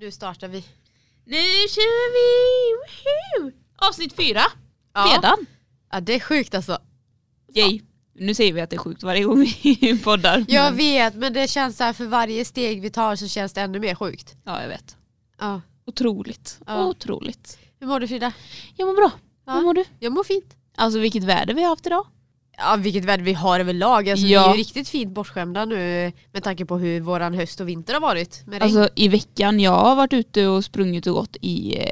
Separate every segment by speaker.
Speaker 1: Nu startar vi.
Speaker 2: Nu kör vi! Woho! Avsnitt fyra, redan.
Speaker 1: ja, det är sjukt alltså.
Speaker 2: Yay. Nu säger vi att det är sjukt varje gång vi poddar.
Speaker 1: Jag
Speaker 2: Men-
Speaker 1: vet men det känns så här för varje steg vi tar så känns det ännu mer sjukt.
Speaker 2: ja, jag vet.
Speaker 1: Ja.
Speaker 2: Otroligt.
Speaker 1: Ja.
Speaker 2: Otroligt.
Speaker 1: Hur mår du Frida?
Speaker 2: Jag mår bra.
Speaker 1: Ja.
Speaker 2: Hur mår du?
Speaker 1: Jag mår fint.
Speaker 2: Alltså vilket väder vi har haft idag.
Speaker 1: Ja vilket väder vi har överlag. Alltså, Vi
Speaker 2: Ja.
Speaker 1: är ju riktigt fint bortskämda nu med tanke på hur våran höst och vinter har varit. Med regn.
Speaker 2: Alltså i veckan, jag har varit ute och sprungit och gått i eh,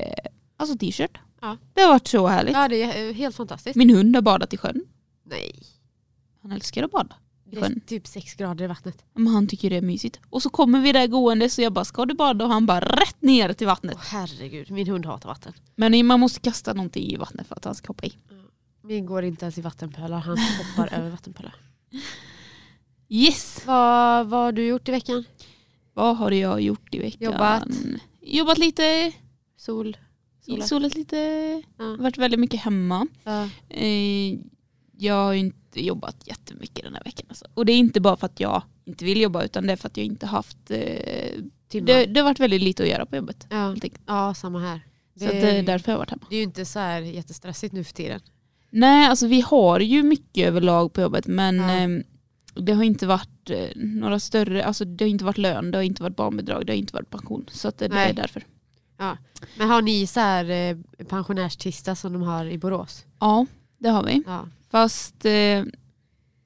Speaker 2: alltså t-shirt.
Speaker 1: Ja.
Speaker 2: Det har varit så härligt.
Speaker 1: ja det är eh, helt fantastiskt.
Speaker 2: Min hund har badat i sjön.
Speaker 1: Nej.
Speaker 2: Han älskar att bada.
Speaker 1: Det är
Speaker 2: Sjön.
Speaker 1: typ sex grader i vattnet.
Speaker 2: Men han tycker det är mysigt. Och så kommer vi där gående så jag bara ska du bada och han bara rätt ner till vattnet.
Speaker 1: Åh herregud, min hund hatar vatten.
Speaker 2: Men man måste kasta någonting i vattnet för att han ska hoppa i.
Speaker 1: Min går inte ens i vattenpölar, han hoppar över vattenpölar.
Speaker 2: Yes!
Speaker 1: Vad, vad har du gjort i veckan?
Speaker 2: Vad har jag gjort i veckan?
Speaker 1: Jobbat.
Speaker 2: Jobbat lite,
Speaker 1: Sol? Solat?
Speaker 2: solat lite,
Speaker 1: Ja.
Speaker 2: varit väldigt mycket hemma.
Speaker 1: Ja.
Speaker 2: Eh, jag har ju inte jobbat jättemycket den här veckan. Alltså. Och det är inte bara för att jag inte vill jobba utan det är för att jag inte haft... Eh,
Speaker 1: Timmar?
Speaker 2: det, det har varit väldigt lite att göra på jobbet.
Speaker 1: ja.
Speaker 2: helt enkelt.
Speaker 1: ja, samma här.
Speaker 2: Så att, det är därför jag har varit hemma.
Speaker 1: Det är ju inte så här jättestressigt nu för tiden.
Speaker 2: Nej, alltså vi har ju mycket överlag på jobbet men
Speaker 1: Ja.
Speaker 2: ehm, det har inte varit eh, några större, alltså det har inte varit lön, det har inte varit barnbidrag, det har inte varit pension. Så att eh, det, det
Speaker 1: Nej.
Speaker 2: är därför.
Speaker 1: Men har ni så här eh, pensionärstisdag som de har i Borås?
Speaker 2: Ja, det har vi.
Speaker 1: Ja.
Speaker 2: Fast eh,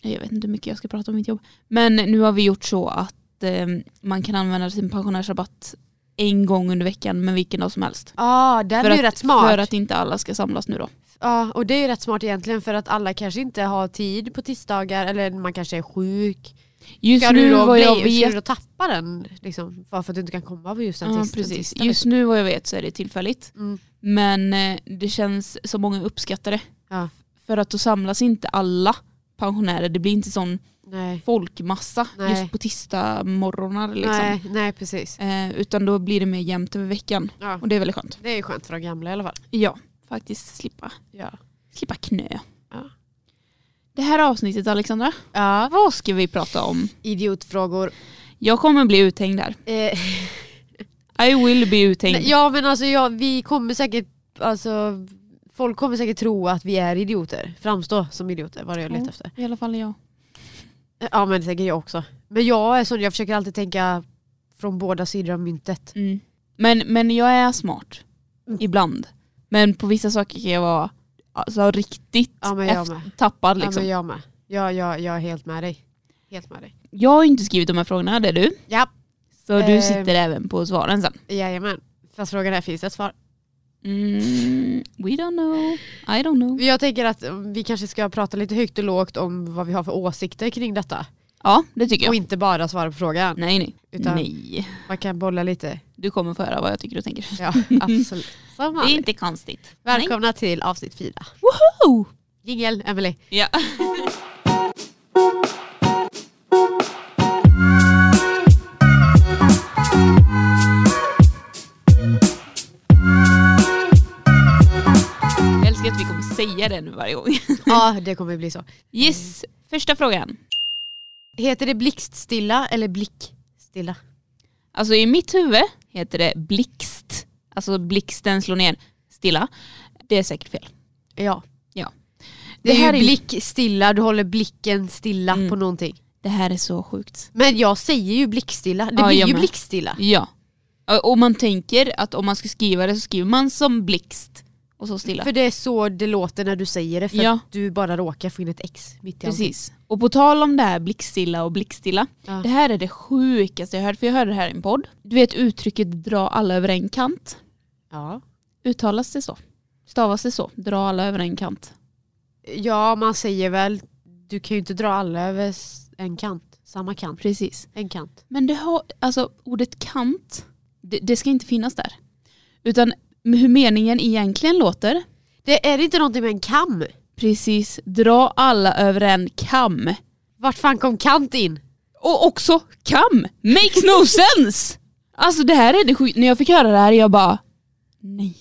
Speaker 2: jag vet inte hur mycket jag ska prata om mitt jobb. Men nu har vi gjort så att eh, man kan använda sin pensionärsrabatt en gång under veckan men vilken dag som helst.
Speaker 1: Ja, den
Speaker 2: För
Speaker 1: är ju
Speaker 2: att,
Speaker 1: rätt smart.
Speaker 2: för att inte alla ska samlas nu då.
Speaker 1: Ja, och det är ju rätt smart egentligen för att alla kanske inte har tid på tisdagar eller man kanske är sjuk.
Speaker 2: Just
Speaker 1: Ska du
Speaker 2: nu
Speaker 1: då,
Speaker 2: vad jag
Speaker 1: bli, ska du
Speaker 2: vet,
Speaker 1: då tappa den liksom, bara för att du inte kan komma på just den
Speaker 2: ja,
Speaker 1: tis-
Speaker 2: precis.
Speaker 1: tisdagen? liksom.
Speaker 2: Just nu vad jag vet så är det tillfälligt.
Speaker 1: Mm.
Speaker 2: Men eh, det känns som många uppskattar det.
Speaker 1: Ja.
Speaker 2: För att då samlas inte alla pensionärer. Det blir inte sån
Speaker 1: Nej.
Speaker 2: folkmassa
Speaker 1: Nej.
Speaker 2: just på tisdag morgnar liksom.
Speaker 1: Nej, nej, precis.
Speaker 2: Eh, utan då blir det mer jämnt över veckan.
Speaker 1: Ja.
Speaker 2: Och det är väldigt skönt.
Speaker 1: Det är ju skönt för de gamla i alla fall.
Speaker 2: Ja, faktiskt slippa,
Speaker 1: Ja.
Speaker 2: slippa knö.
Speaker 1: Ja.
Speaker 2: Det här avsnittet Alexandra,
Speaker 1: ja.
Speaker 2: vad ska vi prata om?
Speaker 1: Idiotfrågor.
Speaker 2: Jag kommer bli uthängd här.
Speaker 1: Eh,
Speaker 2: I will be uthängd.
Speaker 1: Nej, Ja men alltså jag, vi kommer säkert, alltså folk kommer säkert tro att vi är idioter. Framstå som idioter, vad det jag letar
Speaker 2: Ja.
Speaker 1: efter.
Speaker 2: I alla fall jag.
Speaker 1: Ja men säkert jag också. Men jag är sån, jag försöker alltid tänka från båda sidor av myntet.
Speaker 2: Mm. Men, men jag är smart.
Speaker 1: Mm.
Speaker 2: Ibland. Men på vissa saker kan jag vara alltså, riktigt
Speaker 1: Ja, men jag
Speaker 2: eft-
Speaker 1: med.
Speaker 2: tappad.
Speaker 1: Ja
Speaker 2: Liksom.
Speaker 1: men
Speaker 2: jag...
Speaker 1: jag med. Ja, ja, jag är helt med dig. Helt med dig.
Speaker 2: har ju inte skrivit de här frågorna, det är du.
Speaker 1: Ja,
Speaker 2: Så du
Speaker 1: Eh.
Speaker 2: sitter även på svaren sen.
Speaker 1: jajamän. Fast frågan är, finns det ett svar?
Speaker 2: Mm, we don't know. I don't know.
Speaker 1: Jag tänker att eh, vi kanske ska prata lite högt och lågt om vad vi har för åsikter kring detta.
Speaker 2: Ja, det tycker jag.
Speaker 1: Och inte bara svara på frågan.
Speaker 2: Nej, nej.
Speaker 1: Utan-
Speaker 2: nej.
Speaker 1: Man kan bolla lite.
Speaker 2: Du kommer få höra vad jag tycker och tänker.
Speaker 1: Ja, absolut. Som
Speaker 2: Det är
Speaker 1: vanligt.
Speaker 2: inte konstigt.
Speaker 1: Välkomna till avsnitt fyra.
Speaker 2: Woho!
Speaker 1: Jingel, Emily.
Speaker 2: Ja. Jag älskar att vi kommer säga det nu varje gång.
Speaker 1: Ja, det kommer bli så.
Speaker 2: Yes, första frågan.
Speaker 1: Heter det blixtstilla eller blickstilla?
Speaker 2: Alltså i mitt huvud heter det blixt. Alltså blixten slår ner stilla. Det är säkert fel.
Speaker 1: Ja.
Speaker 2: Ja.
Speaker 1: Det,
Speaker 2: Det här
Speaker 1: är
Speaker 2: är
Speaker 1: ju
Speaker 2: ju-
Speaker 1: blickstilla, du håller blicken stilla
Speaker 2: Mm.
Speaker 1: på någonting.
Speaker 2: Det här är så sjukt.
Speaker 1: Men jag säger ju blickstilla, det
Speaker 2: Ja,
Speaker 1: blir
Speaker 2: jag
Speaker 1: ju
Speaker 2: med.
Speaker 1: blickstilla.
Speaker 2: Ja. Och man tänker att om man ska skriva det så skriver man som blixt och så stilla.
Speaker 1: För det är så det låter när du säger det, för
Speaker 2: Ja.
Speaker 1: att du bara råkar få in ett X mitt i allt.
Speaker 2: Precis. Och på tal om det här blickstilla och blickstilla.
Speaker 1: Ja.
Speaker 2: Det här är det sjukaste jag hört, för jag hörde det här i en podd. Du vet uttrycket dra alla över en kant.
Speaker 1: Ja.
Speaker 2: Uttalas det så? Stavas det så? Dra alla över en kant.
Speaker 1: ja, man säger väl, du kan ju inte dra alla över s- en kant. Samma kant,
Speaker 2: Precis.
Speaker 1: en kant.
Speaker 2: Men det har, alltså ordet kant, det, det ska inte finnas där. Utan hur meningen egentligen låter.
Speaker 1: Det är inte någonting med en kam.
Speaker 2: Precis, dra alla över en kam.
Speaker 1: Vart fan kom kant in?
Speaker 2: Och också kam! Makes no sense! Alltså det här är det sjukt, när jag fick höra det här jag bara nej.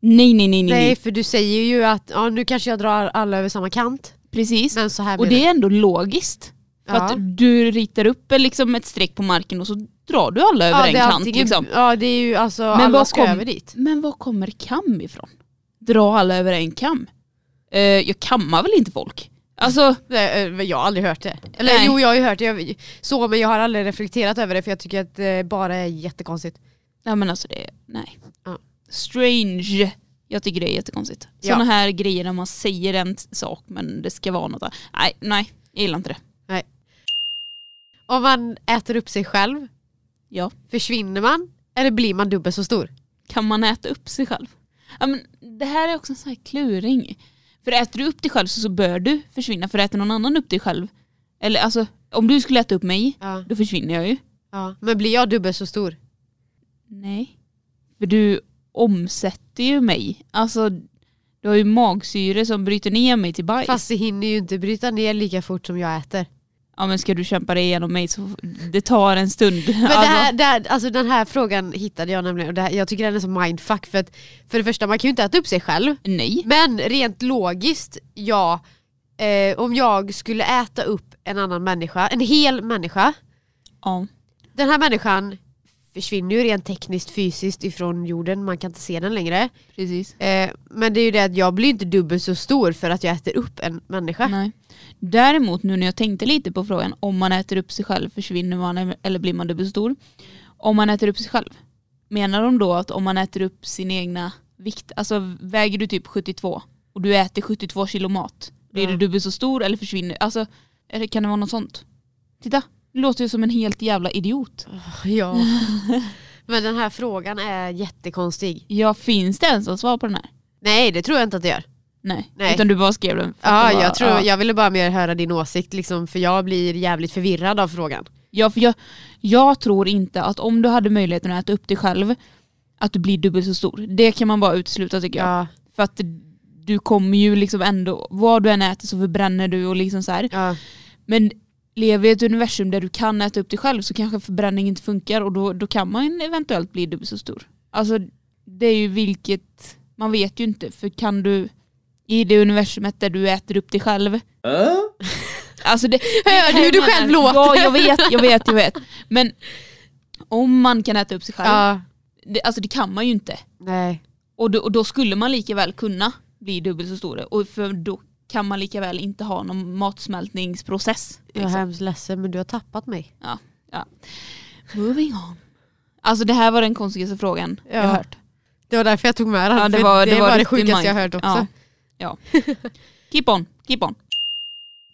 Speaker 2: Nej nej nej nej.
Speaker 1: Nej
Speaker 2: nej.
Speaker 1: för du säger ju att ja, nu kanske jag drar alla över samma kant.
Speaker 2: Precis.
Speaker 1: Men så här
Speaker 2: Och
Speaker 1: blir
Speaker 2: det är ändå logiskt. För
Speaker 1: Ja.
Speaker 2: att du ritar upp liksom ett streck på marken och så drar du alla över
Speaker 1: ja,
Speaker 2: en
Speaker 1: det är
Speaker 2: kant.
Speaker 1: antingen-
Speaker 2: Liksom.
Speaker 1: Ja det är ju alltså
Speaker 2: Men
Speaker 1: alla
Speaker 2: vad
Speaker 1: ska
Speaker 2: kom-
Speaker 1: över dit.
Speaker 2: Men var kommer kam ifrån? Dra alla över en kam? Eh, jag kammar väl inte folk? Alltså,
Speaker 1: Nej, eh, Jag har aldrig hört det. Eller
Speaker 2: Nej.
Speaker 1: jo jag har ju hört det, jag, så men jag har aldrig reflekterat över det för jag tycker att det bara är jättekonstigt.
Speaker 2: nej men alltså det, nej.
Speaker 1: Ja.
Speaker 2: Strange. Jag tycker det är jättekonstigt.
Speaker 1: Ja.
Speaker 2: Sådana här grejer när man säger en t- sak men det ska vara något annat. Nej, nej, jag gillar inte det.
Speaker 1: Om man äter upp sig själv,
Speaker 2: Ja.
Speaker 1: försvinner man eller blir man dubbelt så stor?
Speaker 2: Kan man äta upp sig själv? Ja, men det här är också en sån här kluring. För äter du upp dig själv så, så bör du försvinna. För äter någon annan upp dig själv, eller alltså om du skulle äta upp mig,
Speaker 1: Ja.
Speaker 2: då försvinner jag ju.
Speaker 1: Ja. Men blir jag dubbelt så stor?
Speaker 2: Nej. För du omsätter ju mig. Alltså du har ju magsyre som bryter ner mig till bajs.
Speaker 1: Fast det hinner ju inte bryta ner lika fort som jag äter.
Speaker 2: Ja men ska du kämpa dig igenom mig så det tar en stund.
Speaker 1: Men det här, det här, alltså den här frågan hittade jag nämligen och det här, jag tycker den är så mindfuck för att för det första man kan ju inte äta upp sig själv
Speaker 2: Nej.
Speaker 1: men rent logiskt ja eh, om jag skulle äta upp en annan människa, en hel människa
Speaker 2: Ja.
Speaker 1: den här människan försvinner ju rent tekniskt fysiskt ifrån jorden, man kan inte se den längre.
Speaker 2: Precis.
Speaker 1: Eh, men det är ju det att jag blir inte dubbelt så stor för att jag äter upp en människa.
Speaker 2: Nej. Däremot nu när jag tänkte lite på frågan om man äter upp sig själv försvinner man eller blir man dubbelstor. Om man äter upp sig själv. Menar de då att om man äter upp sin egna vikt, alltså väger du typ 72 och du äter 72 kilo mat, blir
Speaker 1: Ja.
Speaker 2: du dubbelt så stor eller försvinner, alltså eller kan det vara något sånt? Titta, det låter ju som en helt jävla idiot.
Speaker 1: Ja. men den här frågan är jättekonstig.
Speaker 2: Ja, finns det ens något svar på den här?
Speaker 1: Nej det tror jag inte att det gör.
Speaker 2: Nej,
Speaker 1: Nej.
Speaker 2: utan du bara skrev den. för att
Speaker 1: Ja,
Speaker 2: det var-
Speaker 1: jag, tror,
Speaker 2: ja.
Speaker 1: jag ville bara mer höra din åsikt liksom, för jag blir jävligt förvirrad av frågan.
Speaker 2: Ja, för jag, jag tror inte att om du hade möjligheten att äta upp dig själv, att du blir dubbelt så stor. Det kan man bara utesluta tycker jag.
Speaker 1: Ja,
Speaker 2: För att du kommer ju liksom ändå, vad du än äter så förbränner du och liksom så här.
Speaker 1: ja,
Speaker 2: Men lever i ett universum där du kan äta upp dig själv så kanske förbränning inte funkar och då, då kan man eventuellt bli dubbelt så stor. Alltså det är ju vilket, man vet ju inte för kan du i det universumet där du äter upp dig själv Alltså det,
Speaker 1: Hör du hur du själv låter?
Speaker 2: Ja jag vet, jag vet, jag vet. Men om man kan äta upp sig själv,
Speaker 1: ja.
Speaker 2: det, alltså det kan man ju inte.
Speaker 1: Nej.
Speaker 2: Och då, och då skulle man lika väl kunna bli dubbelt så stor. Och för då kan man lika väl inte ha någon matsmältningsprocess.
Speaker 1: Jag är
Speaker 2: Liksom.
Speaker 1: hemskt ledsen men du har tappat mig.
Speaker 2: Moving on. Alltså det här var den konstigaste frågan jag
Speaker 1: Ja.
Speaker 2: har hört.
Speaker 1: Det var därför jag tog med den.
Speaker 2: Ja, det
Speaker 1: för
Speaker 2: var-
Speaker 1: det
Speaker 2: det var
Speaker 1: var det
Speaker 2: riktigt
Speaker 1: sjukaste
Speaker 2: mind-
Speaker 1: jag hört också.
Speaker 2: Ja. ja. Keep on, keep on.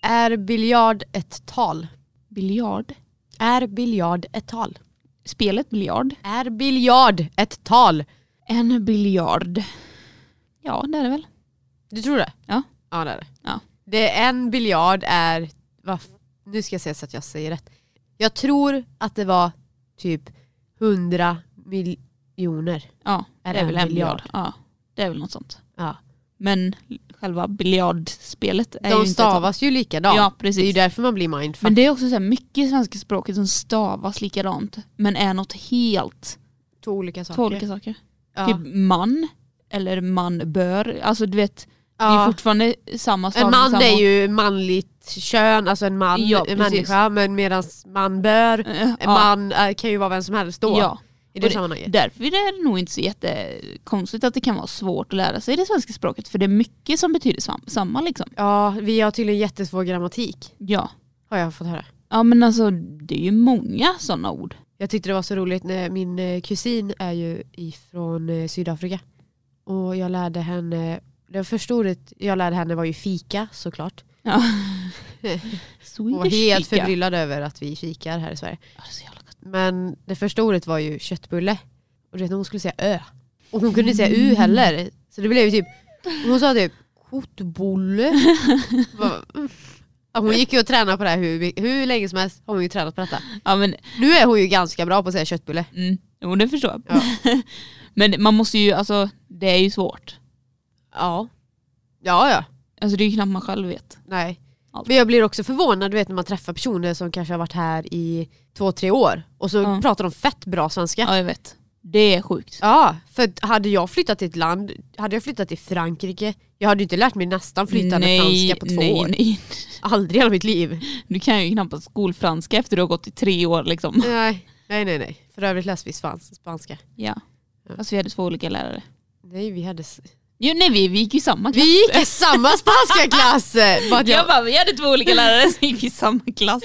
Speaker 1: Är biljard ett tal?
Speaker 2: Biljard.
Speaker 1: Är biljard ett tal?
Speaker 2: Spelet biljard.
Speaker 1: Är biljard ett tal?
Speaker 2: En biljard. Ja det är det väl.
Speaker 1: Du tror det?
Speaker 2: Ja.
Speaker 1: Ja det är det.
Speaker 2: Ja.
Speaker 1: det är en biljard är, va, nu ska jag säga så att jag säger rätt. Jag tror att det var typ 100 miljoner.
Speaker 2: Ja,
Speaker 1: Är
Speaker 2: är
Speaker 1: det en
Speaker 2: det är väl
Speaker 1: biljard?
Speaker 2: en biljard. Ja, det är väl något sånt.
Speaker 1: Ja.
Speaker 2: Men själva biljardspelet är ju
Speaker 1: De
Speaker 2: inte
Speaker 1: stavas ju
Speaker 2: ett,
Speaker 1: likadant.
Speaker 2: Ja,
Speaker 1: Det är ju
Speaker 2: precis.
Speaker 1: därför man blir mindfuck.
Speaker 2: men det är också så här mycket i svenska språket som stavas likadant men är något helt.
Speaker 1: två olika saker.
Speaker 2: Två olika saker.
Speaker 1: Ja.
Speaker 2: Typ man eller man bör. Alltså du vet, det är
Speaker 1: Ja.
Speaker 2: fortfarande samma stavning.
Speaker 1: En man
Speaker 2: samma...
Speaker 1: är ju manligt kön, alltså en man,
Speaker 2: Ja,
Speaker 1: en
Speaker 2: precis.
Speaker 1: människa. Men medan man bör,
Speaker 2: Eh,
Speaker 1: en
Speaker 2: ja.
Speaker 1: man eh, kan ju vara vem som helst då.
Speaker 2: Ja,
Speaker 1: I
Speaker 2: Och
Speaker 1: det
Speaker 2: det-
Speaker 1: sammanhanget.
Speaker 2: därför är det nog inte så jättekonstigt att det kan vara svårt att lära sig det svenska språket för det är mycket som betyder sam- samma liksom.
Speaker 1: Ja, vi har tydligen jättesvår grammatik.
Speaker 2: Ja.
Speaker 1: Har jag fått höra.
Speaker 2: ja men alltså det är ju många sådana ord.
Speaker 1: Jag tyckte det var så roligt när min eh, kusin är ju ifrån eh, Sydafrika. Och jag lärde henne, det första ordet jag lärde henne var ju fika såklart.
Speaker 2: Ja.
Speaker 1: Hon var helt
Speaker 2: fika.
Speaker 1: förbryllad över att vi fikar här i Sverige.
Speaker 2: Ja, det är så jävla gott.
Speaker 1: Men det första ordet var ju köttbulle. Och du vet, hon skulle säga ö. Och hon kunde inte säga u heller. Så det blev ju typ, hon sa typ kotbulle. Bara, mm. Ja, Hon gick ju och tränade på det här hur, hur länge som helst. Har hon ju tränat på detta.
Speaker 2: Ja, men,
Speaker 1: Nu är hon ju ganska bra på att säga köttbulle.
Speaker 2: mm, jo, det förstår jag.
Speaker 1: Ja.
Speaker 2: men man måste ju, alltså det är ju svårt.
Speaker 1: Ja. Ja ja.
Speaker 2: Alltså det är ju knappt man själv vet.
Speaker 1: Nej.
Speaker 2: Allt.
Speaker 1: Men jag blir också förvånad du vet, när man träffar personer som kanske har varit här i två, tre år. Och så
Speaker 2: Ja.
Speaker 1: pratar de fett bra svenska.
Speaker 2: Ja jag vet. Det är sjukt.
Speaker 1: Ja, för att hade jag flyttat till ett land, hade jag flyttat till Frankrike, jag hade ju inte lärt mig nästan flytande franska på två
Speaker 2: nej,
Speaker 1: år.
Speaker 2: Nej.
Speaker 1: Aldrig i hela mitt liv.
Speaker 2: Du kan ju knappast skolfranska efter du har gått i tre år liksom.
Speaker 1: Nej. Nej nej nej. För övrigt läste vi svans, spanska.
Speaker 2: Ja. Fast vi hade två olika lärare.
Speaker 1: Nej vi hade... s-
Speaker 2: Jo, nej, vi, vi gick i samma klass.
Speaker 1: Vi gick i samma spanska klass! Bara att
Speaker 2: Jag
Speaker 1: jag...
Speaker 2: bara, vi hade två olika lärare som gick i samma klass.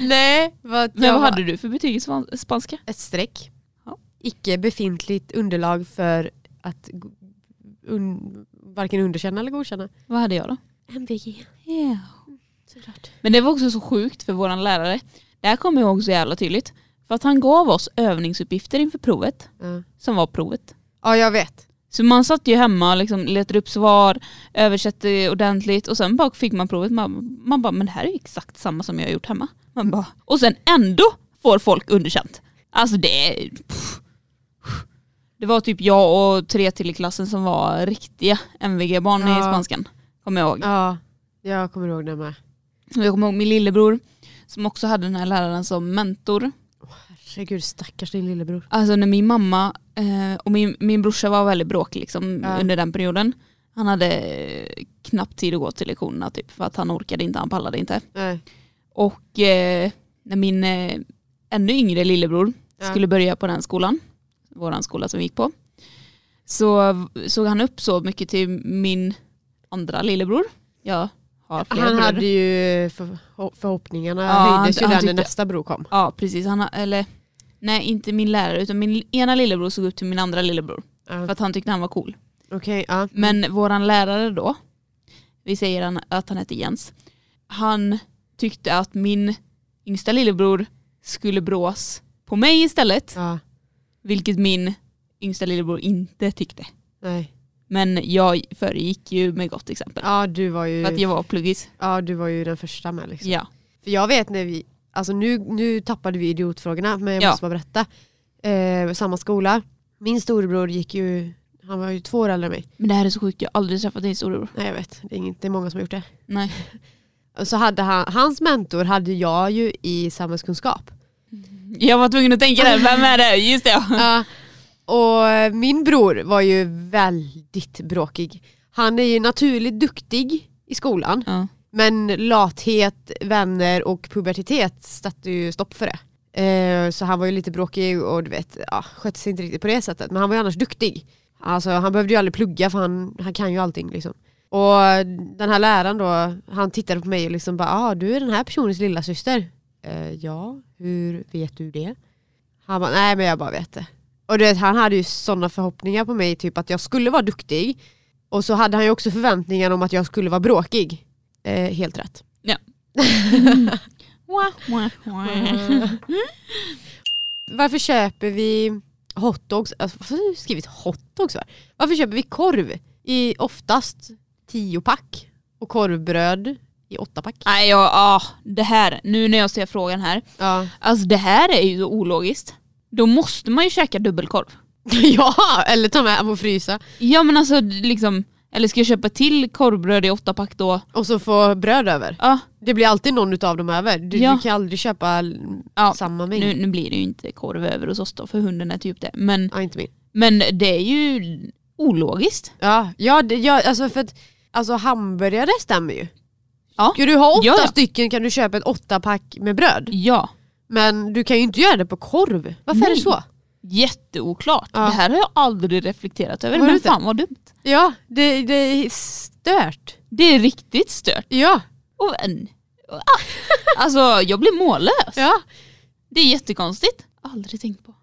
Speaker 1: Nej, bara att
Speaker 2: Men
Speaker 1: jag
Speaker 2: vad
Speaker 1: var-
Speaker 2: hade du för betyg i svan- spanska?
Speaker 1: Ett streck.
Speaker 2: Ja.
Speaker 1: Icke befintligt underlag för att go- un... varken underkänna eller godkänna.
Speaker 2: Vad hade jag då?
Speaker 1: MVG.
Speaker 2: Ja.
Speaker 1: Såklart.
Speaker 2: Men det var också så sjukt för våran lärare. Det här kommer jag ihåg så jävla tydligt. För att han gav oss övningsuppgifter inför provet,
Speaker 1: Ja.
Speaker 2: som var provet.
Speaker 1: ja jag vet.
Speaker 2: Så man satt ju hemma och liksom letade upp svar, översatte ordentligt och sen bara fick man provet. Man, man bara, men det här är ju exakt samma som jag har gjort hemma. Man bara, och sen ändå får folk underkänt. Alltså det är... pff. Det var typ jag och tre till i klassen som var riktiga MVG-barn i
Speaker 1: Ja.
Speaker 2: spanskan. Kommer jag ihåg.
Speaker 1: Ja, jag kommer ihåg det med.
Speaker 2: Och Jag kommer ihåg min lillebror som också hade den här läraren som mentor.
Speaker 1: Herregud stackars din lillebror.
Speaker 2: Alltså när min mamma eh, och min, min brorsa var väldigt bråkig liksom,
Speaker 1: Ja.
Speaker 2: under den perioden. Han hade eh, knappt tid att gå till lektionerna typ, för att han orkade inte, han pallade inte.
Speaker 1: Nej.
Speaker 2: Och eh, när min eh, ännu yngre lillebror
Speaker 1: Ja.
Speaker 2: skulle börja på den skolan, våran skola som vi gick på, så v- såg han upp så mycket till min andra lillebror. Jag har flera
Speaker 1: Han
Speaker 2: bröder.
Speaker 1: hade ju för, förhoppningarna
Speaker 2: Ja,
Speaker 1: höjdes
Speaker 2: han-
Speaker 1: ju
Speaker 2: han
Speaker 1: där när
Speaker 2: tyckte-
Speaker 1: nästa bro kom.
Speaker 2: Ja precis, han, har- eller nej inte min lärare utan min li- ena lillebror såg upp till min andra lillebror
Speaker 1: Ja.
Speaker 2: för att han tyckte han var cool.
Speaker 1: Okej, ja.
Speaker 2: Men våran lärare då, vi säger han, att han hette Jens, han tyckte att min yngsta lillebror skulle brås på mig istället,
Speaker 1: ja.
Speaker 2: vilket min yngsta lillebror inte tyckte.
Speaker 1: Nej.
Speaker 2: Men jag föregick ju med gott exempel.
Speaker 1: Ja, du var ju,
Speaker 2: För att jag var pluggis.
Speaker 1: ja, du var ju den första med. Liksom.
Speaker 2: Ja.
Speaker 1: För jag vet när vi, alltså nu, nu tappade vi idiotfrågorna men jag
Speaker 2: Ja.
Speaker 1: måste bara berätta. Eh, samma skola, min storebror gick ju, han var ju två år äldre än mig.
Speaker 2: Men det här är så sjukt, jag har aldrig träffat din storebror.
Speaker 1: Nej jag vet, det är, inget, det är många som har gjort det.
Speaker 2: Nej.
Speaker 1: Och så hade han, hans mentor hade jag ju i samhällskunskap.
Speaker 2: Jag var tvungen att tänka där, vem är det? Just det ja.
Speaker 1: Ja. och min bror var ju väldigt bråkig. Han är ju naturligt duktig i skolan
Speaker 2: ja.
Speaker 1: men lathet, vänner och pubertet satte ju stopp för det. Eh, så han var ju lite bråkig och du vet, ja, skötte sig inte riktigt på det sättet. Men han var ju annars duktig. Alltså, han behövde ju aldrig plugga för han, han kan ju allting. Liksom. Och den här läraren då, han tittade på mig och liksom bara, ah, du är den här personens lilla syster. Eh, ja, hur vet du det? Han bara, nej men jag bara vet det. Och du vet, han hade ju sådana förhoppningar på mig, typ att jag skulle vara duktig. Och så hade han ju också förväntningar om att jag skulle vara bråkig. Eh, helt rätt.
Speaker 2: Wah, wah, wah.
Speaker 1: Mm. Varför köper vi hotdogs? Alltså, varför har du skrivit hotdogs? För? Varför köper vi korv i oftast 10 pack och korvbröd i 8 pack?
Speaker 2: Nej, jag, ah, det här, nu när jag ser frågan här.
Speaker 1: Ja.
Speaker 2: Alltså det här är ju så ologiskt. Då måste man ju käka dubbelkorv.
Speaker 1: ja, eller ta med och frysa.
Speaker 2: Ja men alltså liksom, eller ska jag köpa till korvbröd i åtta pack då?
Speaker 1: Och så få bröd över.
Speaker 2: Ja,
Speaker 1: Det blir alltid någon utav dem över. Du,
Speaker 2: Ja.
Speaker 1: du kan aldrig köpa l-
Speaker 2: ja.
Speaker 1: samma mängd.
Speaker 2: Nu, nu blir det ju inte korv över hos oss då för hunden äter ju upp det. Men,
Speaker 1: Ja, inte min.
Speaker 2: men det är ju ologiskt.
Speaker 1: Ja, ja, det, ja alltså för att alltså hamburgare stämmer ju.
Speaker 2: Ja.
Speaker 1: Ska du ha åtta
Speaker 2: Ja, ja.
Speaker 1: stycken kan du köpa ett åttapack med bröd.
Speaker 2: Ja,
Speaker 1: Men du kan ju inte göra det på korv. Varför är det
Speaker 2: Nej.
Speaker 1: så?
Speaker 2: jätteoklart.
Speaker 1: Ja.
Speaker 2: Det här har jag aldrig reflekterat över
Speaker 1: Var det
Speaker 2: men
Speaker 1: inte?
Speaker 2: fan vad dumt.
Speaker 1: Ja, det, det är stört.
Speaker 2: Det är riktigt stört.
Speaker 1: Ja,
Speaker 2: Och en, ah. Alltså jag blir mållös.
Speaker 1: ja.
Speaker 2: Det är jättekonstigt. Aldrig tänkt på.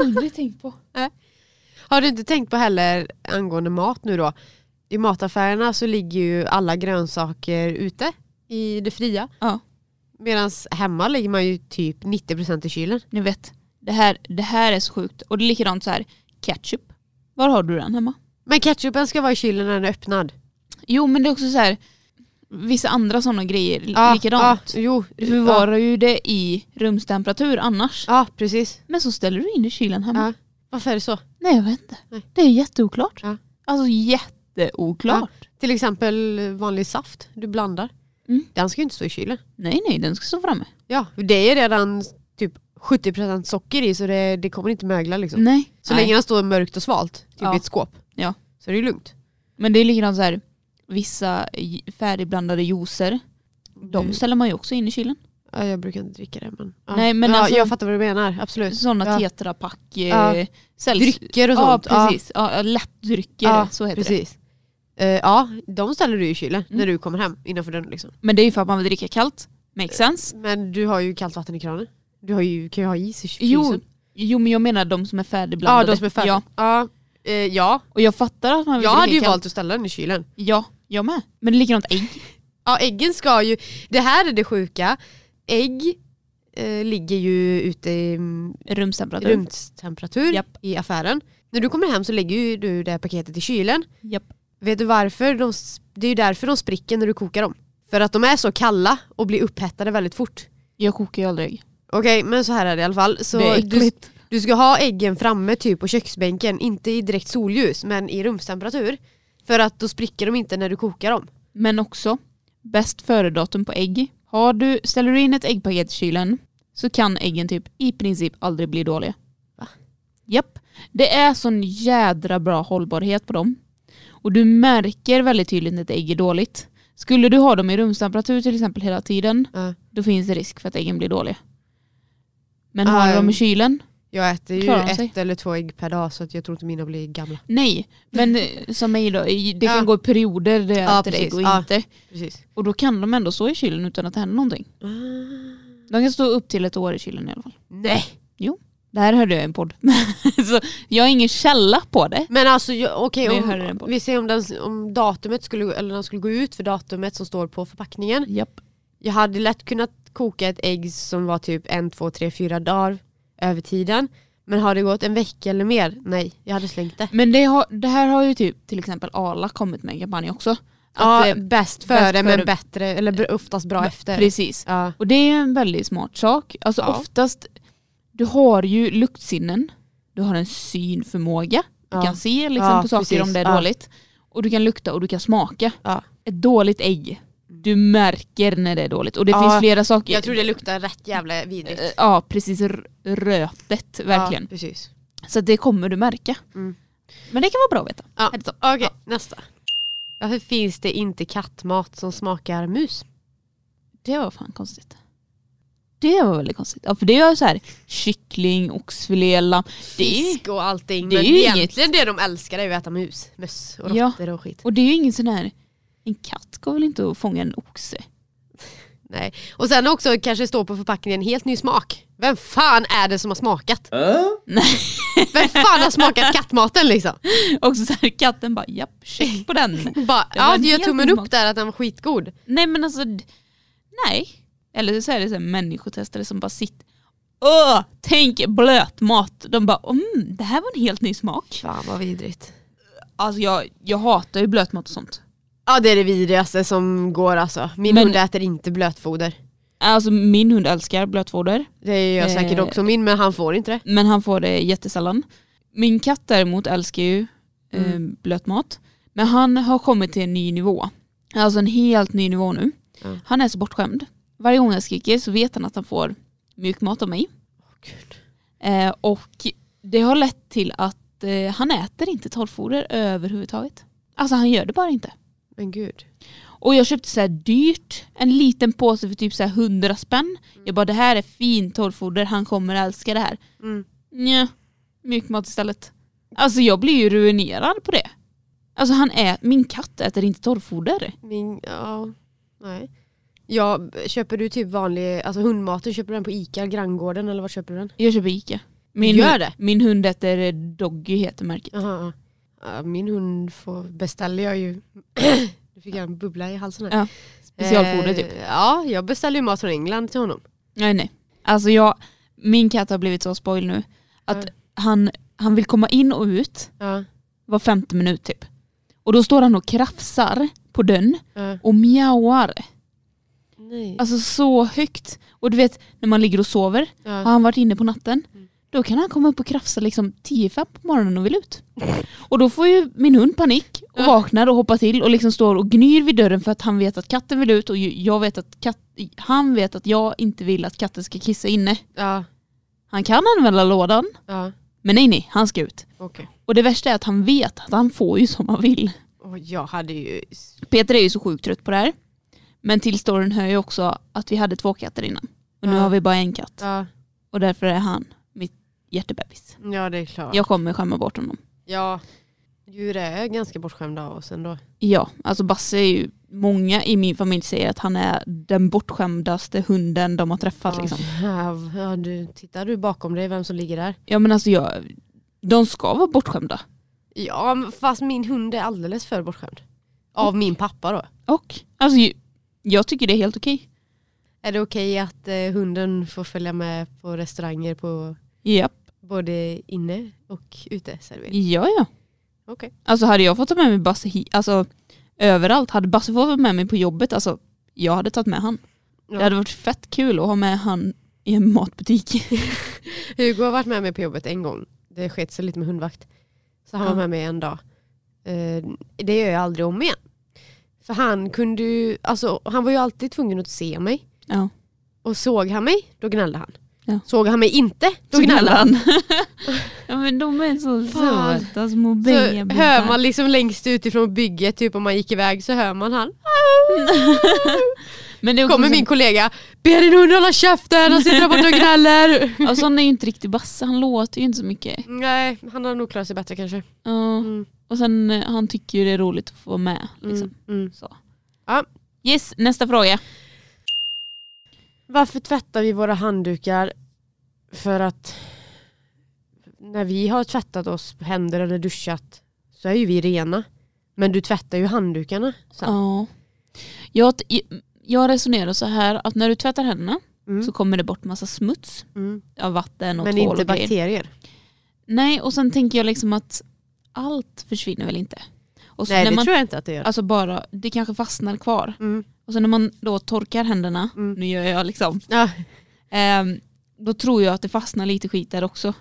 Speaker 2: Aldrig tänkt på.
Speaker 1: Har du inte tänkt på heller angående mat nu då? I mataffärerna så ligger ju alla grönsaker ute i det fria.
Speaker 2: Ja.
Speaker 1: Medan hemma ligger man ju typ 90% i kylen.
Speaker 2: Ni vet, det här, det här är så sjukt. Och det är likadant så här, ketchup. Var har du den hemma?
Speaker 1: Men ketchupen ska vara i kylen när den är öppnad.
Speaker 2: Jo men det är också så här, vissa andra sådana grejer li-
Speaker 1: Ja,
Speaker 2: likadant.
Speaker 1: Ja, jo,
Speaker 2: Du förvarar ju det i rumstemperatur annars.
Speaker 1: Ja, precis.
Speaker 2: Men så ställer du in i kylen hemma.
Speaker 1: Ja. Varför är det så?
Speaker 2: Nej jag vet inte.
Speaker 1: Nej.
Speaker 2: Det är jätteoklart.
Speaker 1: Ja.
Speaker 2: Alltså jätteoklart.
Speaker 1: Till exempel vanlig saft du blandar.
Speaker 2: Mm.
Speaker 1: Den ska ju inte stå i kylen.
Speaker 2: Nej nej, den ska stå framme.
Speaker 1: Ja, det är redan typ 70% socker i så det, det kommer inte mögla liksom.
Speaker 2: Nej.
Speaker 1: Så
Speaker 2: Mm. nej.
Speaker 1: länge den står mörkt och svalt, typ
Speaker 2: Ja.
Speaker 1: i ett skåp.
Speaker 2: Ja.
Speaker 1: Så är det ju lugnt.
Speaker 2: Men det är likadant så Mm. här, vissa j- färdigblandade juicer. De ställer man ju också in i kylen.
Speaker 1: Eh, Ja, jag brukar inte dricka det men. Ja.
Speaker 2: Nej, men
Speaker 1: ja,
Speaker 2: alltså-
Speaker 1: jag fattar vad du menar, absolut.
Speaker 2: Sådana
Speaker 1: Ja.
Speaker 2: tetrapack. Eh,
Speaker 1: Ja.
Speaker 2: säljs-
Speaker 1: Drycker och
Speaker 2: Ja
Speaker 1: sånt.
Speaker 2: precis, ja. lättdrycker
Speaker 1: Ja,
Speaker 2: så
Speaker 1: Ja,
Speaker 2: heter det.
Speaker 1: precis. Eh, ja, de ställer du i kylen
Speaker 2: Mm.
Speaker 1: när du kommer hem innanför dörren. Liksom.
Speaker 2: Men det är ju för att man vill dricka kallt. Makes sense.
Speaker 1: Men du har ju kallt vatten i kranen. Du har ju, kan ju ha is i kylen.
Speaker 2: Jo, jo men jag menar de som är
Speaker 1: Eh, ja,
Speaker 2: färdigblandade.
Speaker 1: de som är färdiga.
Speaker 2: Ja,
Speaker 1: Ja. eh, ja,
Speaker 2: och jag fattar att man vill
Speaker 1: jag
Speaker 2: dricka
Speaker 1: hade ju
Speaker 2: kallt.
Speaker 1: valt att ställa den i kylen.
Speaker 2: Ja, jag med. Men det är likadant ägg.
Speaker 1: Ja, äggen ska ju... Det här är det sjuka. Ägg eh, ligger ju ute i mm,
Speaker 2: Rumstemperatur.
Speaker 1: rumstemperatur
Speaker 2: Japp.
Speaker 1: i affären. När du kommer hem så lägger ju du det här paketet i kylen.
Speaker 2: Japp.
Speaker 1: Vet du varför? De, s- det är ju därför de spricker när du kokar dem. För att de är så kalla och blir upphettade väldigt fort.
Speaker 2: Jag kokar ju aldrig ägg.
Speaker 1: Okej, men så här är det i alla fall. Så
Speaker 2: det är
Speaker 1: du,
Speaker 2: äckligt.
Speaker 1: du ska ha äggen framme typ på köksbänken, inte i direkt solljus men i rumstemperatur. För att då spricker de inte när du kokar dem.
Speaker 2: Men också, bäst före-datum på ägg. Har du, ställer du in ett äggpaket i kylen så kan äggen typ i princip aldrig bli dåliga.
Speaker 1: Va?
Speaker 2: Japp. Det är sån jädra bra hållbarhet på dem. Och du märker väldigt tydligt när ett ägg är dåligt. Skulle du ha dem i rumstemperatur till exempel hela tiden,
Speaker 1: Ja.
Speaker 2: då finns det risk för att äggen blir dåliga. Men
Speaker 1: Ja,
Speaker 2: har du dem i
Speaker 1: jag-
Speaker 2: kylen?
Speaker 1: Jag äter ju
Speaker 2: Klarar de sig?
Speaker 1: ett eller två ägg per dag så att jag tror inte mina blir gamla.
Speaker 2: Nej, men eh, som mig då, i- det kan
Speaker 1: Ja.
Speaker 2: gå i perioder där jag
Speaker 1: Ja,
Speaker 2: äter
Speaker 1: precis.
Speaker 2: ägg och
Speaker 1: Ja.
Speaker 2: inte.
Speaker 1: Precis.
Speaker 2: Och då kan de ändå stå i kylen utan att det händer någonting.
Speaker 1: Ah.
Speaker 2: De kan stå upp till ett år i kylen i alla fall.
Speaker 1: Nej!
Speaker 2: Det här hörde jag i en podd. så jag har ingen källa på det.
Speaker 1: Men alltså jag- okej,
Speaker 2: Men jag hörde
Speaker 1: om-
Speaker 2: den på.
Speaker 1: vi ser om, den, om datumet skulle, eller den skulle gå ut för datumet som står på förpackningen.
Speaker 2: Japp.
Speaker 1: Jag hade lätt kunnat koka ett ägg som var typ en, två, tre, fyra dagar över tiden. Men har det gått en vecka eller mer? Nej, jag hade slängt det.
Speaker 2: Men det, har, det här har ju typ till exempel Arla kommit med en kampanj också. Att,
Speaker 1: ja,
Speaker 2: eh,
Speaker 1: bäst
Speaker 2: före,
Speaker 1: före
Speaker 2: men
Speaker 1: men bättre, eller br- oftast bra efter.
Speaker 2: Precis.
Speaker 1: Ja.
Speaker 2: Och det är en väldigt smart sak. Alltså
Speaker 1: Ja.
Speaker 2: oftast, du har ju luktsinnen, du har en synförmåga, du
Speaker 1: Ja.
Speaker 2: kan se liksom,
Speaker 1: Ja,
Speaker 2: på saker
Speaker 1: precis.
Speaker 2: om det är
Speaker 1: Ja.
Speaker 2: dåligt. Och du kan lukta och du kan smaka.
Speaker 1: Ja.
Speaker 2: Ett dåligt ägg, du märker när det är dåligt. Och det
Speaker 1: Ja,
Speaker 2: finns flera saker.
Speaker 1: Jag tror det luktar rätt jävla vidrigt.
Speaker 2: Eh, Ja, precis. r- Rötet, verkligen.
Speaker 1: Ja, precis.
Speaker 2: Så att det kommer du märka.
Speaker 1: Mm.
Speaker 2: Men det kan vara bra att veta.
Speaker 1: Ja.
Speaker 2: Är det så?
Speaker 1: Okej, nästa. Varför finns det inte kattmat som smakar mus?
Speaker 2: Det var fan konstigt. Det var väldigt konstigt. Ja, för det är ju så här kyckling, oxfilé, lamm. Det är,
Speaker 1: Fisk och allting.
Speaker 2: det är
Speaker 1: men
Speaker 2: ju inget-
Speaker 1: egentligen det de älskar är ju att äta mus. Möss och
Speaker 2: Ja.
Speaker 1: råttor och skit.
Speaker 2: och det är ju ingen sån här... En katt går väl inte att fånga en oxe?
Speaker 1: Nej. Och sen också kanske står på förpackningen helt ny smak. Vem fan är det som har smakat?
Speaker 2: Nej.
Speaker 1: Vem fan har smakat kattmaten liksom?
Speaker 2: Och så här, katten bara japp, check på den.
Speaker 1: Bara,
Speaker 2: var
Speaker 1: ja,
Speaker 2: en
Speaker 1: du gör
Speaker 2: helt
Speaker 1: tummen
Speaker 2: ny
Speaker 1: upp
Speaker 2: smak.
Speaker 1: där att den var skitgod.
Speaker 2: Nej men alltså, d- nej. Eller så är det så här människotestare som bara sitter Åh, tänk blötmat. De bara, mm, det här var en helt ny smak.
Speaker 1: Fan vad vidrigt.
Speaker 2: Alltså jag, jag hatar ju blötmat och sånt.
Speaker 1: Ja det är det vidrigaste som går alltså. Min
Speaker 2: Men-
Speaker 1: hund äter inte blötfoder.
Speaker 2: Alltså min hund älskar blötfoder,
Speaker 1: Det gör jag
Speaker 2: Eh.
Speaker 1: säkert också min men han får inte det.
Speaker 2: men han får det jättesällan. Min katt däremot älskar ju
Speaker 1: Mm.
Speaker 2: eh, blötmat, men han har kommit till en ny nivå. Alltså en helt ny nivå nu.
Speaker 1: Ja.
Speaker 2: Han är så bortskämd. Varje gång jag skriker så vet han att han får mjukmat av mig.
Speaker 1: Åh, Gud.
Speaker 2: Eh, och det har lett till att eh, han äter inte torrfoder överhuvudtaget. Alltså han gör det bara inte.
Speaker 1: Men gud.
Speaker 2: Och jag köpte så här dyrt, en liten påse för typ så här 100 spänn. Jag bara det här är fint torrfoder, han kommer älska det här.
Speaker 1: Mm.
Speaker 2: Nja, mjukmat istället. Alltså jag blir ju ruinerad på det. Alltså han är, min katt äter inte torrfoder.
Speaker 1: Min, ja, nej. Ja, köper du typ vanlig, alltså hundmaten, köper du den på Ica, granngården eller var köper du den?
Speaker 2: Jag köper Ica.
Speaker 1: Gör
Speaker 2: hund,
Speaker 1: det?
Speaker 2: min hund äter eh, Doggy heter märket.
Speaker 1: Aha, ja. Ja, Min hund får, beställer jag ju, nu fick jag en bubbla i halsen här.
Speaker 2: Ja, Specialfoder
Speaker 1: Eh,
Speaker 2: typ.
Speaker 1: Ja, jag beställer ju mat från England till honom.
Speaker 2: Nej nej. Alltså jag, min katt har blivit så spoil nu. Att
Speaker 1: Ja.
Speaker 2: han, han vill komma in och ut
Speaker 1: Ja,
Speaker 2: var femte minut typ. Och då står han och krafsar på dörren
Speaker 1: ja.
Speaker 2: och mjauar.
Speaker 1: Nej.
Speaker 2: Alltså så högt. Och du vet när man ligger och sover, har
Speaker 1: ja.
Speaker 2: han varit inne på natten,
Speaker 1: Mm.
Speaker 2: då kan han komma upp och krafsa liksom 10 fem på morgonen och vill ut. Och då får ju min hund panik och
Speaker 1: Ja.
Speaker 2: vaknar och hoppar till och liksom står och gnyr vid dörren för att han vet att katten vill ut och ju- jag vet att katt, han vet att jag inte vill att katten ska kissa inne.
Speaker 1: ja,
Speaker 2: Han kan använda lådan,
Speaker 1: ja.
Speaker 2: men nej nej, han ska ut.
Speaker 1: Okej.
Speaker 2: Och det värsta är att han vet att han får ju som han vill.
Speaker 1: Och jag hade ju...
Speaker 2: Peter är ju så sjukt trött på det här. Men till storyn hör ju också att vi hade två katter innan. Och nu
Speaker 1: Ja.
Speaker 2: har vi bara en katt.
Speaker 1: Ja,
Speaker 2: Och därför är han mitt hjärtebebis.
Speaker 1: ja det är klart. Ja.
Speaker 2: Jag kommer skämma bort honom.
Speaker 1: Djur är ganska bortskämda av oss ändå.
Speaker 2: Ja, alltså Basse är ju, många i min familj säger att han är den bortskämdaste hunden de har träffat.
Speaker 1: Ja,
Speaker 2: Liksom.
Speaker 1: jäv- Ja, du, tittar du bakom dig vem som ligger där?
Speaker 2: Ja men alltså jag, de ska vara bortskämda.
Speaker 1: Ja men fast min hund är alldeles för bortskämd. Av min pappa då.
Speaker 2: Och alltså ju- jag tycker det är helt okej.
Speaker 1: Är det okej att eh, hunden får följa med på restauranger på
Speaker 2: Japp.
Speaker 1: både inne och uteservering?
Speaker 2: Ja ja.
Speaker 1: Okej.
Speaker 2: Alltså hade jag fått ta med mig Basse hit, alltså överallt, hade Basse fått vara med mig på jobbet, alltså jag hade tagit med han.
Speaker 1: Ja.
Speaker 2: Det hade varit fett kul att ha med han i en matbutik.
Speaker 1: Hugo har varit med mig på jobbet en gång. Det sket sig lite med hundvakt. Så han
Speaker 2: Ja.
Speaker 1: var med mig en dag. Eh, Det gör jag aldrig om igen. För han kunde ju, alltså, han var ju alltid tvungen att se mig.
Speaker 2: Ja.
Speaker 1: Och såg han mig, då gnällde han.
Speaker 2: Ja.
Speaker 1: Såg han mig inte, då gnällde han.
Speaker 2: ja men de är så
Speaker 1: Fan.
Speaker 2: söta små
Speaker 1: Så
Speaker 2: bebisar.
Speaker 1: hör man liksom längst utifrån bygget, typ om man gick iväg så hör man han.
Speaker 2: men det är också
Speaker 1: Kommer
Speaker 2: så-
Speaker 1: min kollega, be din hund hålla käften, han sitter där borta och gnäller.
Speaker 2: Ja, sån alltså, är ju inte riktigt Basse, han låter ju inte så mycket.
Speaker 1: Nej, han har nog klarat sig bättre kanske.
Speaker 2: Ja.
Speaker 1: Mm.
Speaker 2: Och sen eh, han tycker ju det är roligt att få vara med. Liksom.
Speaker 1: Mm. Mm.
Speaker 2: Så.
Speaker 1: Ja.
Speaker 2: Yes, nästa fråga.
Speaker 1: Varför tvättar vi våra handdukar? För att när vi har tvättat oss händer eller duschat så är ju vi rena. Men du tvättar ju handdukarna. sen.
Speaker 2: Ja. Jag, jag resonerar så här att när du tvättar händerna
Speaker 1: Mm.
Speaker 2: så kommer det bort massa smuts
Speaker 1: Mm.
Speaker 2: av vatten och
Speaker 1: Men
Speaker 2: tvål
Speaker 1: inte
Speaker 2: och grejer.
Speaker 1: bakterier.
Speaker 2: Nej, och sen tänker jag liksom att allt försvinner väl inte. Och så
Speaker 1: Nej
Speaker 2: när
Speaker 1: det
Speaker 2: man,
Speaker 1: tror jag inte att det gör.
Speaker 2: Alltså bara, det kanske fastnar kvar.
Speaker 1: Mm.
Speaker 2: Och sen när man då torkar händerna,
Speaker 1: Mm.
Speaker 2: nu gör jag liksom,
Speaker 1: Ja.
Speaker 2: ehm, då tror jag att det fastnar lite skit där också.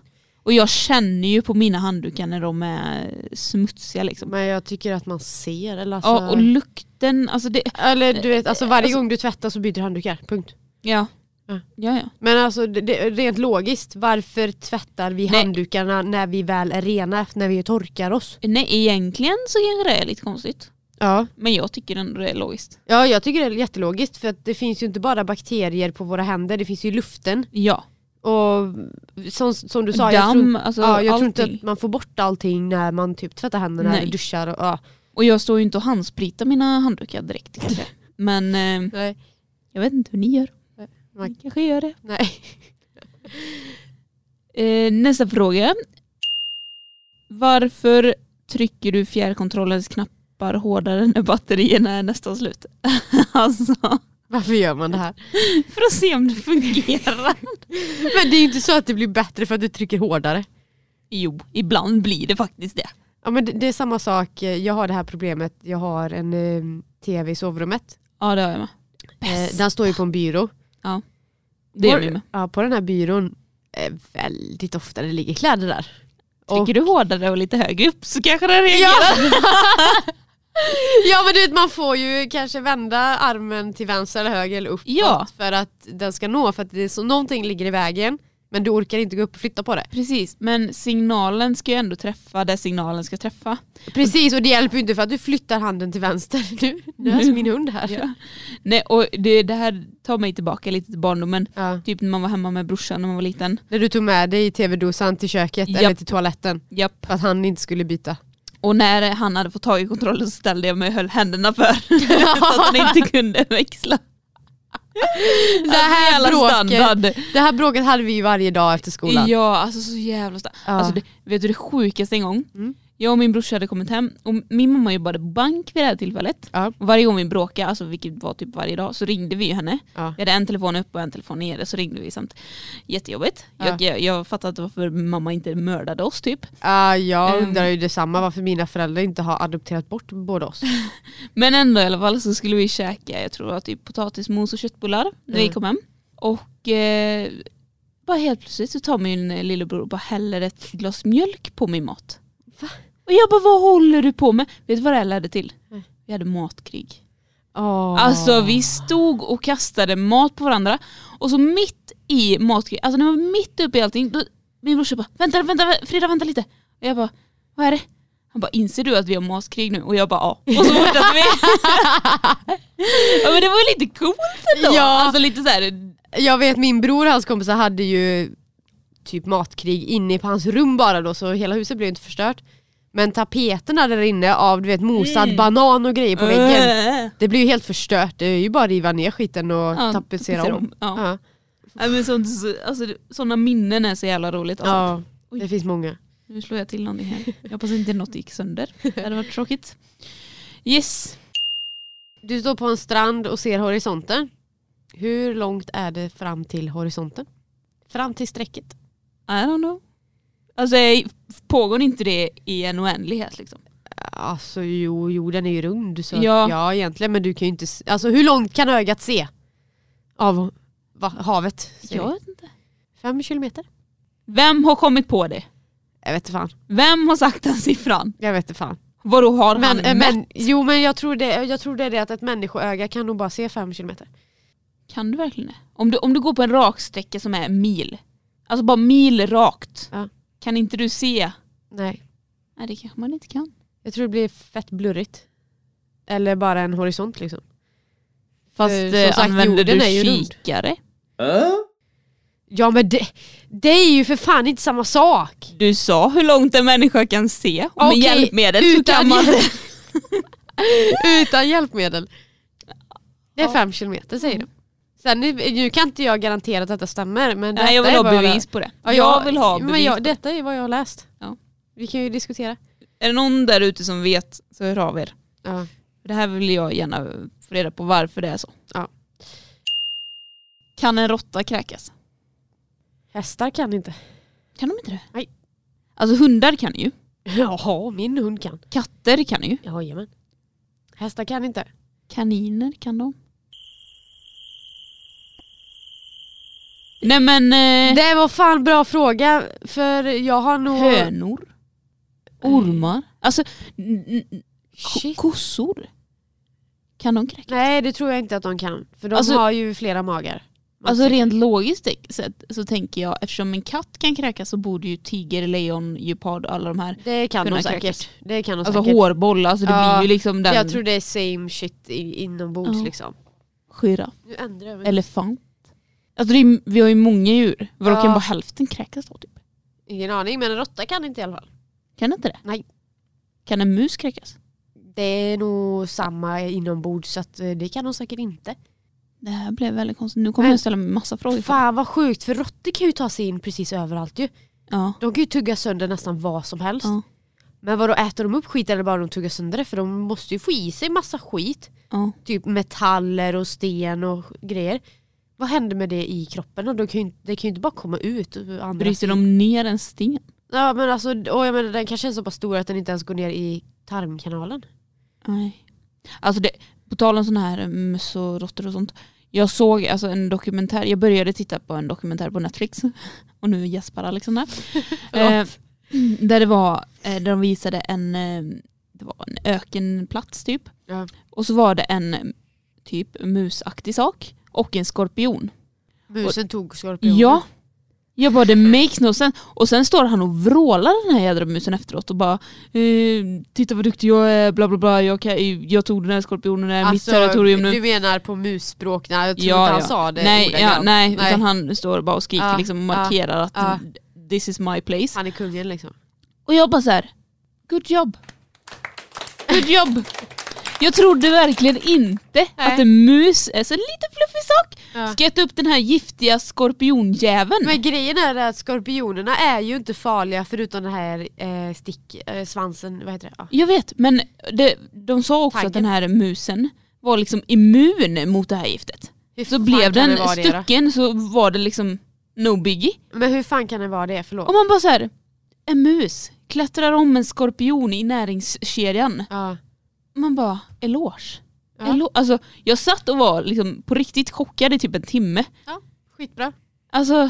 Speaker 2: Och jag känner ju på mina handdukar när de är smutsiga liksom.
Speaker 1: Men jag tycker att man ser. Eller, alltså,
Speaker 2: Ja, och lukten, alltså det,
Speaker 1: eller du vet, alltså varje
Speaker 2: Alltså-
Speaker 1: gång du tvättar så byter du handdukar. Punkt.
Speaker 2: ja.
Speaker 1: Ja.
Speaker 2: Ja, ja.
Speaker 1: Men alltså det, det, rent logiskt, varför tvättar vi
Speaker 2: Nej.
Speaker 1: handdukarna när vi väl är rena, när vi torkar oss?
Speaker 2: Nej, egentligen så kanske det är lite konstigt.
Speaker 1: Ja.
Speaker 2: Men jag tycker ändå det är logiskt.
Speaker 1: Ja jag tycker det är jättelogiskt för att det finns ju inte bara bakterier på våra händer, det finns ju i luften.
Speaker 2: Ja.
Speaker 1: Och som, som du sa, jag,
Speaker 2: Damm,
Speaker 1: tror,
Speaker 2: alltså
Speaker 1: ja, jag tror inte
Speaker 2: allting.
Speaker 1: att man får bort allting när man typ tvättar händerna
Speaker 2: Nej.
Speaker 1: eller duschar. Och, ja.
Speaker 2: Och jag står ju inte och handspritar mina handdukar direkt kanske. Men eh,
Speaker 1: Nej.
Speaker 2: jag vet inte hur ni gör.
Speaker 1: Nej.
Speaker 2: Ni kanske gör det.
Speaker 1: Nej.
Speaker 2: Eh, nästa fråga. Varför trycker du fjärrkontrollens knappar hårdare när batterierna är nästan slut? alltså,
Speaker 1: Varför gör man det här?
Speaker 2: för att se om det fungerar.
Speaker 1: Men det är ju inte så att det blir bättre för att du trycker hårdare.
Speaker 2: jo, ibland blir det faktiskt det.
Speaker 1: Ja, men det, det är samma sak, jag har det här problemet, jag har en eh, tv i sovrummet.
Speaker 2: Ja, det har jag med.
Speaker 1: Eh, den står ju på en byrå.
Speaker 2: Det gör
Speaker 1: på,
Speaker 2: vi med.
Speaker 1: Ja, på den här byrån är väldigt ofta det ligger kläder där.
Speaker 2: Trycker du hårdare och lite högre upp så kanske den reagerar.
Speaker 1: Ja. ja men du vet man får ju kanske vända armen till vänster eller höger eller uppåt
Speaker 2: Ja.
Speaker 1: för att den ska nå för att det är så, någonting ligger i vägen men du orkar inte gå upp och flytta på det.
Speaker 2: Precis, men signalen ska ju ändå träffa där signalen ska träffa.
Speaker 1: Precis och det hjälper ju inte för att du flyttar handen till vänster nu. Nu är
Speaker 2: Nu.
Speaker 1: min hund här.
Speaker 2: Ja. Alltså, Nej, och det, det här tar mig tillbaka lite till barndomen.
Speaker 1: Ja.
Speaker 2: Typ när man var hemma med brorsan när man var liten.
Speaker 1: När du tog med dig tv-dosan till köket
Speaker 2: Japp.
Speaker 1: eller till toaletten
Speaker 2: Japp.
Speaker 1: för att han inte skulle byta.
Speaker 2: Och när han hade fått tag i kontrollen så ställde jag mig och höll händerna för. för att han inte kunde växla. Alltså,
Speaker 1: Det här,
Speaker 2: Jävla
Speaker 1: bråket,
Speaker 2: standard.
Speaker 1: det här bråket hade vi ju varje dag efter skolan.
Speaker 2: Ja, alltså så jävla standard.
Speaker 1: Ja.
Speaker 2: Alltså, det, vet du det sjukaste en gång?
Speaker 1: Mm.
Speaker 2: Jag och min brorsa hade kommit hem och min mamma jobbade på bank vid det här tillfället.
Speaker 1: Ja.
Speaker 2: Och varje gång vi bråkade, alltså, vilket var typ varje dag, så ringde vi ju henne.
Speaker 1: Ja.
Speaker 2: Vi hade en telefon uppe och en telefon nere så ringde vi samt. Jättejobbigt. Jag, jag, jag fattade inte varför mamma inte mördade oss typ.
Speaker 1: Ah, jag
Speaker 2: Ehm.
Speaker 1: undrar ju detsamma varför mina föräldrar inte har adopterat bort båda oss.
Speaker 2: Men ändå i alla fall så skulle vi käka, jag tror att typ potatismos och köttbullar när vi
Speaker 1: Mm.
Speaker 2: kom hem. Och eh, bara helt plötsligt så tar min eh, lillebror och bara häller ett glas mjölk på min mat.
Speaker 1: Va?
Speaker 2: Och jag bara vad håller du på med? Vet du vad det här ledde till?
Speaker 1: Nej.
Speaker 2: Vi hade matkrig.
Speaker 1: Oh.
Speaker 2: Alltså vi stod och kastade mat på varandra och så mitt i matkrig, alltså när man var mitt uppe i allting, då, min brorsa bara vänta, vänta, vä- Frida vänta lite. Och jag bara vad är det? Han bara inser du att vi har matkrig nu? Och jag bara ja. Och så fortsatte vi. ja, men det var ju lite coolt ändå.
Speaker 1: Ja.
Speaker 2: Alltså lite så här,
Speaker 1: Jag vet min bror och hans kompisar hade ju typ matkrig inne på hans rum bara då så hela huset blev inte förstört. Men tapeterna där inne av du vet mosad
Speaker 2: Mm.
Speaker 1: banan och grejer på väggen. Det blir ju helt förstört. Det är ju bara att riva ner skiten och
Speaker 2: eh, Ja,
Speaker 1: tapetsera om.
Speaker 2: Ja.
Speaker 1: Ja.
Speaker 2: Nej, men sånt, alltså, sådana minnen är så jävla roligt. Alltså.
Speaker 1: Ja,
Speaker 2: Oj.
Speaker 1: det finns många.
Speaker 2: Nu slår jag till någonting här. Jag hoppas inte något gick sönder. Det hade varit tråkigt. Yes.
Speaker 1: Du står på en strand och ser horisonten. Hur långt är det fram till horisonten? Fram till strecket.
Speaker 2: I don't know. Alltså jag- pågår inte det i en oändlighet liksom?
Speaker 1: Alltså jo, jorden är ju rund så ja.
Speaker 2: Ja.
Speaker 1: Att, ja egentligen men du kan ju inte se. Alltså hur långt kan ögat se? Av va, havet? säger
Speaker 2: Jag
Speaker 1: vi.
Speaker 2: vet inte.
Speaker 1: Fem kilometer?
Speaker 2: Vem har kommit på det?
Speaker 1: Jag vet inte fan.
Speaker 2: Vem har sagt den siffran?
Speaker 1: Jag vet inte fan.
Speaker 2: Vadå har han
Speaker 1: Men, eh,
Speaker 2: mätt?
Speaker 1: men, jo men jag tror, det, jag tror det är det att ett människoöga kan nog bara se fem kilometer.
Speaker 2: Kan du verkligen det? Om du, om du går på en raksträcka som är en mil, alltså bara mil rakt,
Speaker 1: Ja.
Speaker 2: kan inte du se?
Speaker 1: Nej.
Speaker 2: Nej det kanske man inte kan.
Speaker 1: Jag tror det blir fett blurrigt. Eller bara en horisont liksom.
Speaker 2: Fast
Speaker 1: Eh, som
Speaker 2: eh,
Speaker 1: sagt,
Speaker 2: använder
Speaker 1: jorden
Speaker 2: du
Speaker 1: är ju rund.
Speaker 2: kikare?
Speaker 1: Ja men det, det är ju för fan inte samma sak!
Speaker 2: Du sa hur långt en människa kan se. Och
Speaker 1: Okej,
Speaker 2: med hjälpmedel så
Speaker 1: utan
Speaker 2: kan man
Speaker 1: hjälp.
Speaker 2: se.
Speaker 1: Utan hjälpmedel. Det är
Speaker 2: Ja.
Speaker 1: fem kilometer säger de. Sen nu, nu kan inte jag garantera att detta stämmer men detta
Speaker 2: Nej, jag vill
Speaker 1: är
Speaker 2: ha
Speaker 1: vad jag
Speaker 2: bevis
Speaker 1: läst.
Speaker 2: på det.
Speaker 1: Ja,
Speaker 2: jag vill ha bevis
Speaker 1: men jag,
Speaker 2: på det.
Speaker 1: Detta är vad jag har läst.
Speaker 2: Ja.
Speaker 1: Vi kan ju diskutera.
Speaker 2: Är det någon där ute som vet så hör av er.
Speaker 1: Ja.
Speaker 2: För det här vill jag gärna få reda på varför det är så.
Speaker 1: Ja.
Speaker 2: Kan en råtta kräkas?
Speaker 1: Hästar kan inte.
Speaker 2: Kan de inte det?
Speaker 1: Nej.
Speaker 2: Alltså hundar kan ju.
Speaker 1: Jaha, min hund kan.
Speaker 2: Katter kan ju.
Speaker 1: Jajamän. Hästar kan inte.
Speaker 2: Kaniner kan de. Nej men eh,
Speaker 1: Det var fan bra fråga för jag har nog...
Speaker 2: hönor. Ormar. Alltså n- n- ko-
Speaker 1: Shit.
Speaker 2: kossor. Kan de kräkas?
Speaker 1: Nej det tror jag inte att de kan. För de
Speaker 2: Alltså-
Speaker 1: har ju flera magar.
Speaker 2: Alltså rent logiskt sett så tänker jag eftersom en katt kan kräkas så borde ju tiger, lejon, gepard och alla de här.
Speaker 1: det kan
Speaker 2: kunna
Speaker 1: de säkert.
Speaker 2: kräkas.
Speaker 1: Det kan de
Speaker 2: Alltså
Speaker 1: säkert.
Speaker 2: hårboll, alltså det
Speaker 1: Ja,
Speaker 2: blir ju liksom den.
Speaker 1: Jag tror det är same shit i, inombords
Speaker 2: Ja.
Speaker 1: liksom.
Speaker 2: Giraff,
Speaker 1: Nu ändrar jag mig.
Speaker 2: elefant. Alltså det är, vi har ju många djur. Vadå
Speaker 1: Ja.
Speaker 2: kan bara hälften kräkas då typ?
Speaker 1: Ingen aning men en råtta kan inte i alla fall.
Speaker 2: Kan inte det?
Speaker 1: Nej.
Speaker 2: Kan en mus kräkas?
Speaker 1: Det är nog samma inombords så att eh, det kan de säkert inte.
Speaker 2: Det här blev väldigt konstigt. Nu kommer
Speaker 1: Men-
Speaker 2: jag ställa mig massa frågor.
Speaker 1: Fan vad sjukt för råttor kan ju ta sig in precis överallt ju.
Speaker 2: Ja.
Speaker 1: De kan ju tugga sönder nästan vad som helst.
Speaker 2: Ja.
Speaker 1: Men vadå äter de upp skit eller bara de tuggar sönder det? För de måste ju få i sig massa skit.
Speaker 2: ja.
Speaker 1: Typ metaller och sten och grejer. Vad händer med det i kroppen? Och De kan ju inte, det kan ju inte bara komma ut. och andra-
Speaker 2: Bryter de ner en sten?
Speaker 1: Ja men alltså, och jag menar, den kanske är så pass stor att den inte ens går ner i tarmkanalen.
Speaker 2: Nej. Alltså det, på tal om sådana här eh, möss och råttor och sånt. Jag såg alltså en dokumentär, jag började titta på en dokumentär på Netflix. Och nu gäspar Alexandra. eh, där det var, eh, där de visade en, eh, det var en ökenplats typ.
Speaker 1: Ja.
Speaker 2: Och så var det en eh, typ musaktig sak och en skorpion.
Speaker 1: Musen tog skorpionen.
Speaker 2: Ja. Jag bara det makes no sense. Och sen står han och vrålar den här jädra musen efteråt och bara eh, Titta vad duktig jag är, bla bla bla, jag, kan, jag tog den här skorpionen, det är mitt territorium nu.
Speaker 1: Du menar på musspråk? Nej, jag tror
Speaker 2: Ja,
Speaker 1: inte han
Speaker 2: ja.
Speaker 1: sa Alltså, det
Speaker 2: nej, ja,
Speaker 1: ordagrant.
Speaker 2: nej,
Speaker 1: Nej.
Speaker 2: utan han står bara och skriker
Speaker 1: Ja,
Speaker 2: liksom och
Speaker 1: ja,
Speaker 2: markerar att
Speaker 1: ja.
Speaker 2: this is my place.
Speaker 1: Han är kungen liksom.
Speaker 2: Och jag bara så här, good job. Good job. Jag trodde verkligen inte
Speaker 1: Nej.
Speaker 2: att en mus är så en liten fluffig sak.
Speaker 1: Ja.
Speaker 2: Ska äta upp den här giftiga skorpionjäveln.
Speaker 1: Men grejen är att skorpionerna är ju inte farliga förutom den här eh, stick, eh, svansen, vad heter det? Ja.
Speaker 2: Jag vet, men det, de sa också
Speaker 1: Tanken.
Speaker 2: att den här musen var liksom immun mot det här giftet.
Speaker 1: Hur
Speaker 2: Så
Speaker 1: fan
Speaker 2: blev
Speaker 1: kan det
Speaker 2: den
Speaker 1: vara det då?
Speaker 2: stucken så var det liksom no biggie.
Speaker 1: Men hur fan kan det vara det? Förlåt.
Speaker 2: Om man bara så här, en mus klättrar om en skorpion i näringskedjan.
Speaker 1: Ja.
Speaker 2: Man bara, eloge.
Speaker 1: Ja.
Speaker 2: Elo- alltså, jag satt och var liksom på riktigt chockad i typ en timme.
Speaker 1: Skitbra.
Speaker 2: Alltså,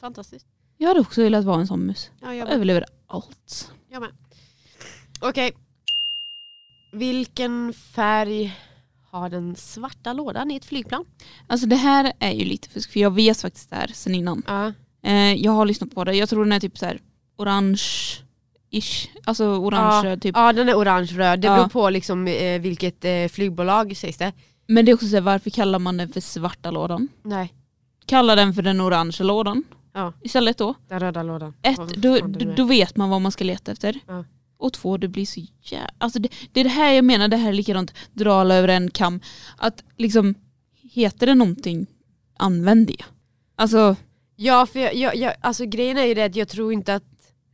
Speaker 1: Fantastiskt.
Speaker 2: jag hade också velat vara en sån mus.
Speaker 1: Ja, jag,
Speaker 2: Jag
Speaker 1: med.
Speaker 2: överlever allt.
Speaker 1: jag med. Okej. Vilken färg har den svarta lådan i ett flygplan?
Speaker 2: Alltså det här är ju lite fusk för jag vet faktiskt det här sen innan.
Speaker 1: Ja.
Speaker 2: Eh, jag har lyssnat på det. Jag tror den är typ så här orange-ish. Alltså orange typ.
Speaker 1: Ja den är orange-röd, det
Speaker 2: Ja.
Speaker 1: beror på liksom, eh, vilket eh, flygbolag sägs det.
Speaker 2: Men det är också så här, varför kallar man den för svarta lådan?
Speaker 1: Nej.
Speaker 2: Kalla den för den orangea lådan
Speaker 1: Ja.
Speaker 2: istället då.
Speaker 1: Den röda lådan.
Speaker 2: Ett,
Speaker 1: Vad
Speaker 2: då,
Speaker 1: fan det nu
Speaker 2: då,
Speaker 1: är.
Speaker 2: då vet man vad man ska leta efter.
Speaker 1: Ja.
Speaker 2: Och två, det blir så jävla... Alltså det, det är det här jag menar, det här är likadant dra alla över en kam. Att liksom, heter det någonting, använd det. Alltså,
Speaker 1: Ja, för jag, jag, jag, alltså, grejen är ju det att jag tror inte att...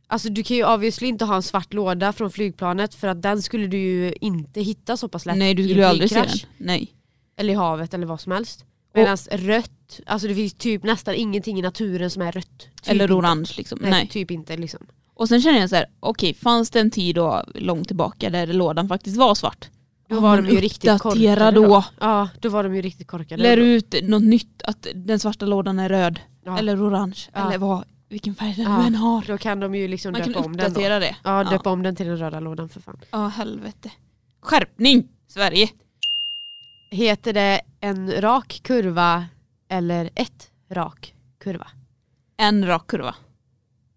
Speaker 1: Alltså du kan ju obviously inte ha en svart låda från flygplanet för att den skulle du ju inte hitta så pass lätt Typ
Speaker 2: nej du
Speaker 1: i en
Speaker 2: skulle ju aldrig se den.
Speaker 1: flygkrasch.
Speaker 2: Nej.
Speaker 1: Eller i havet eller vad som helst. Medan rött, alltså det finns typ nästan ingenting i naturen som är rött. Typ
Speaker 2: Eller
Speaker 1: inte.
Speaker 2: orange liksom.
Speaker 1: Nej,
Speaker 2: Nej.
Speaker 1: typ inte liksom.
Speaker 2: Och sen känner jag så här, okej fanns det en tid då, långt tillbaka där lådan faktiskt var svart?
Speaker 1: Då
Speaker 2: Ja,
Speaker 1: var
Speaker 2: men
Speaker 1: de ju riktigt
Speaker 2: uppdatera
Speaker 1: korkade
Speaker 2: då.
Speaker 1: Ja, då var de ju riktigt korkade.
Speaker 2: Lär
Speaker 1: då.
Speaker 2: ut något nytt, att den svarta lådan är röd
Speaker 1: Ja.
Speaker 2: eller orange
Speaker 1: Ja.
Speaker 2: eller vad, vilken färg den
Speaker 1: Ja.
Speaker 2: nu än har.
Speaker 1: Då kan de ju liksom
Speaker 2: Man kan
Speaker 1: döpa om den då.
Speaker 2: uppdatera det.
Speaker 1: Ja,
Speaker 2: Ja.
Speaker 1: döpa om den till den röda lådan för fan.
Speaker 2: Ja helvete. Skärpning Sverige!
Speaker 1: Heter det en rak kurva eller ett rak kurva?
Speaker 2: En rak kurva.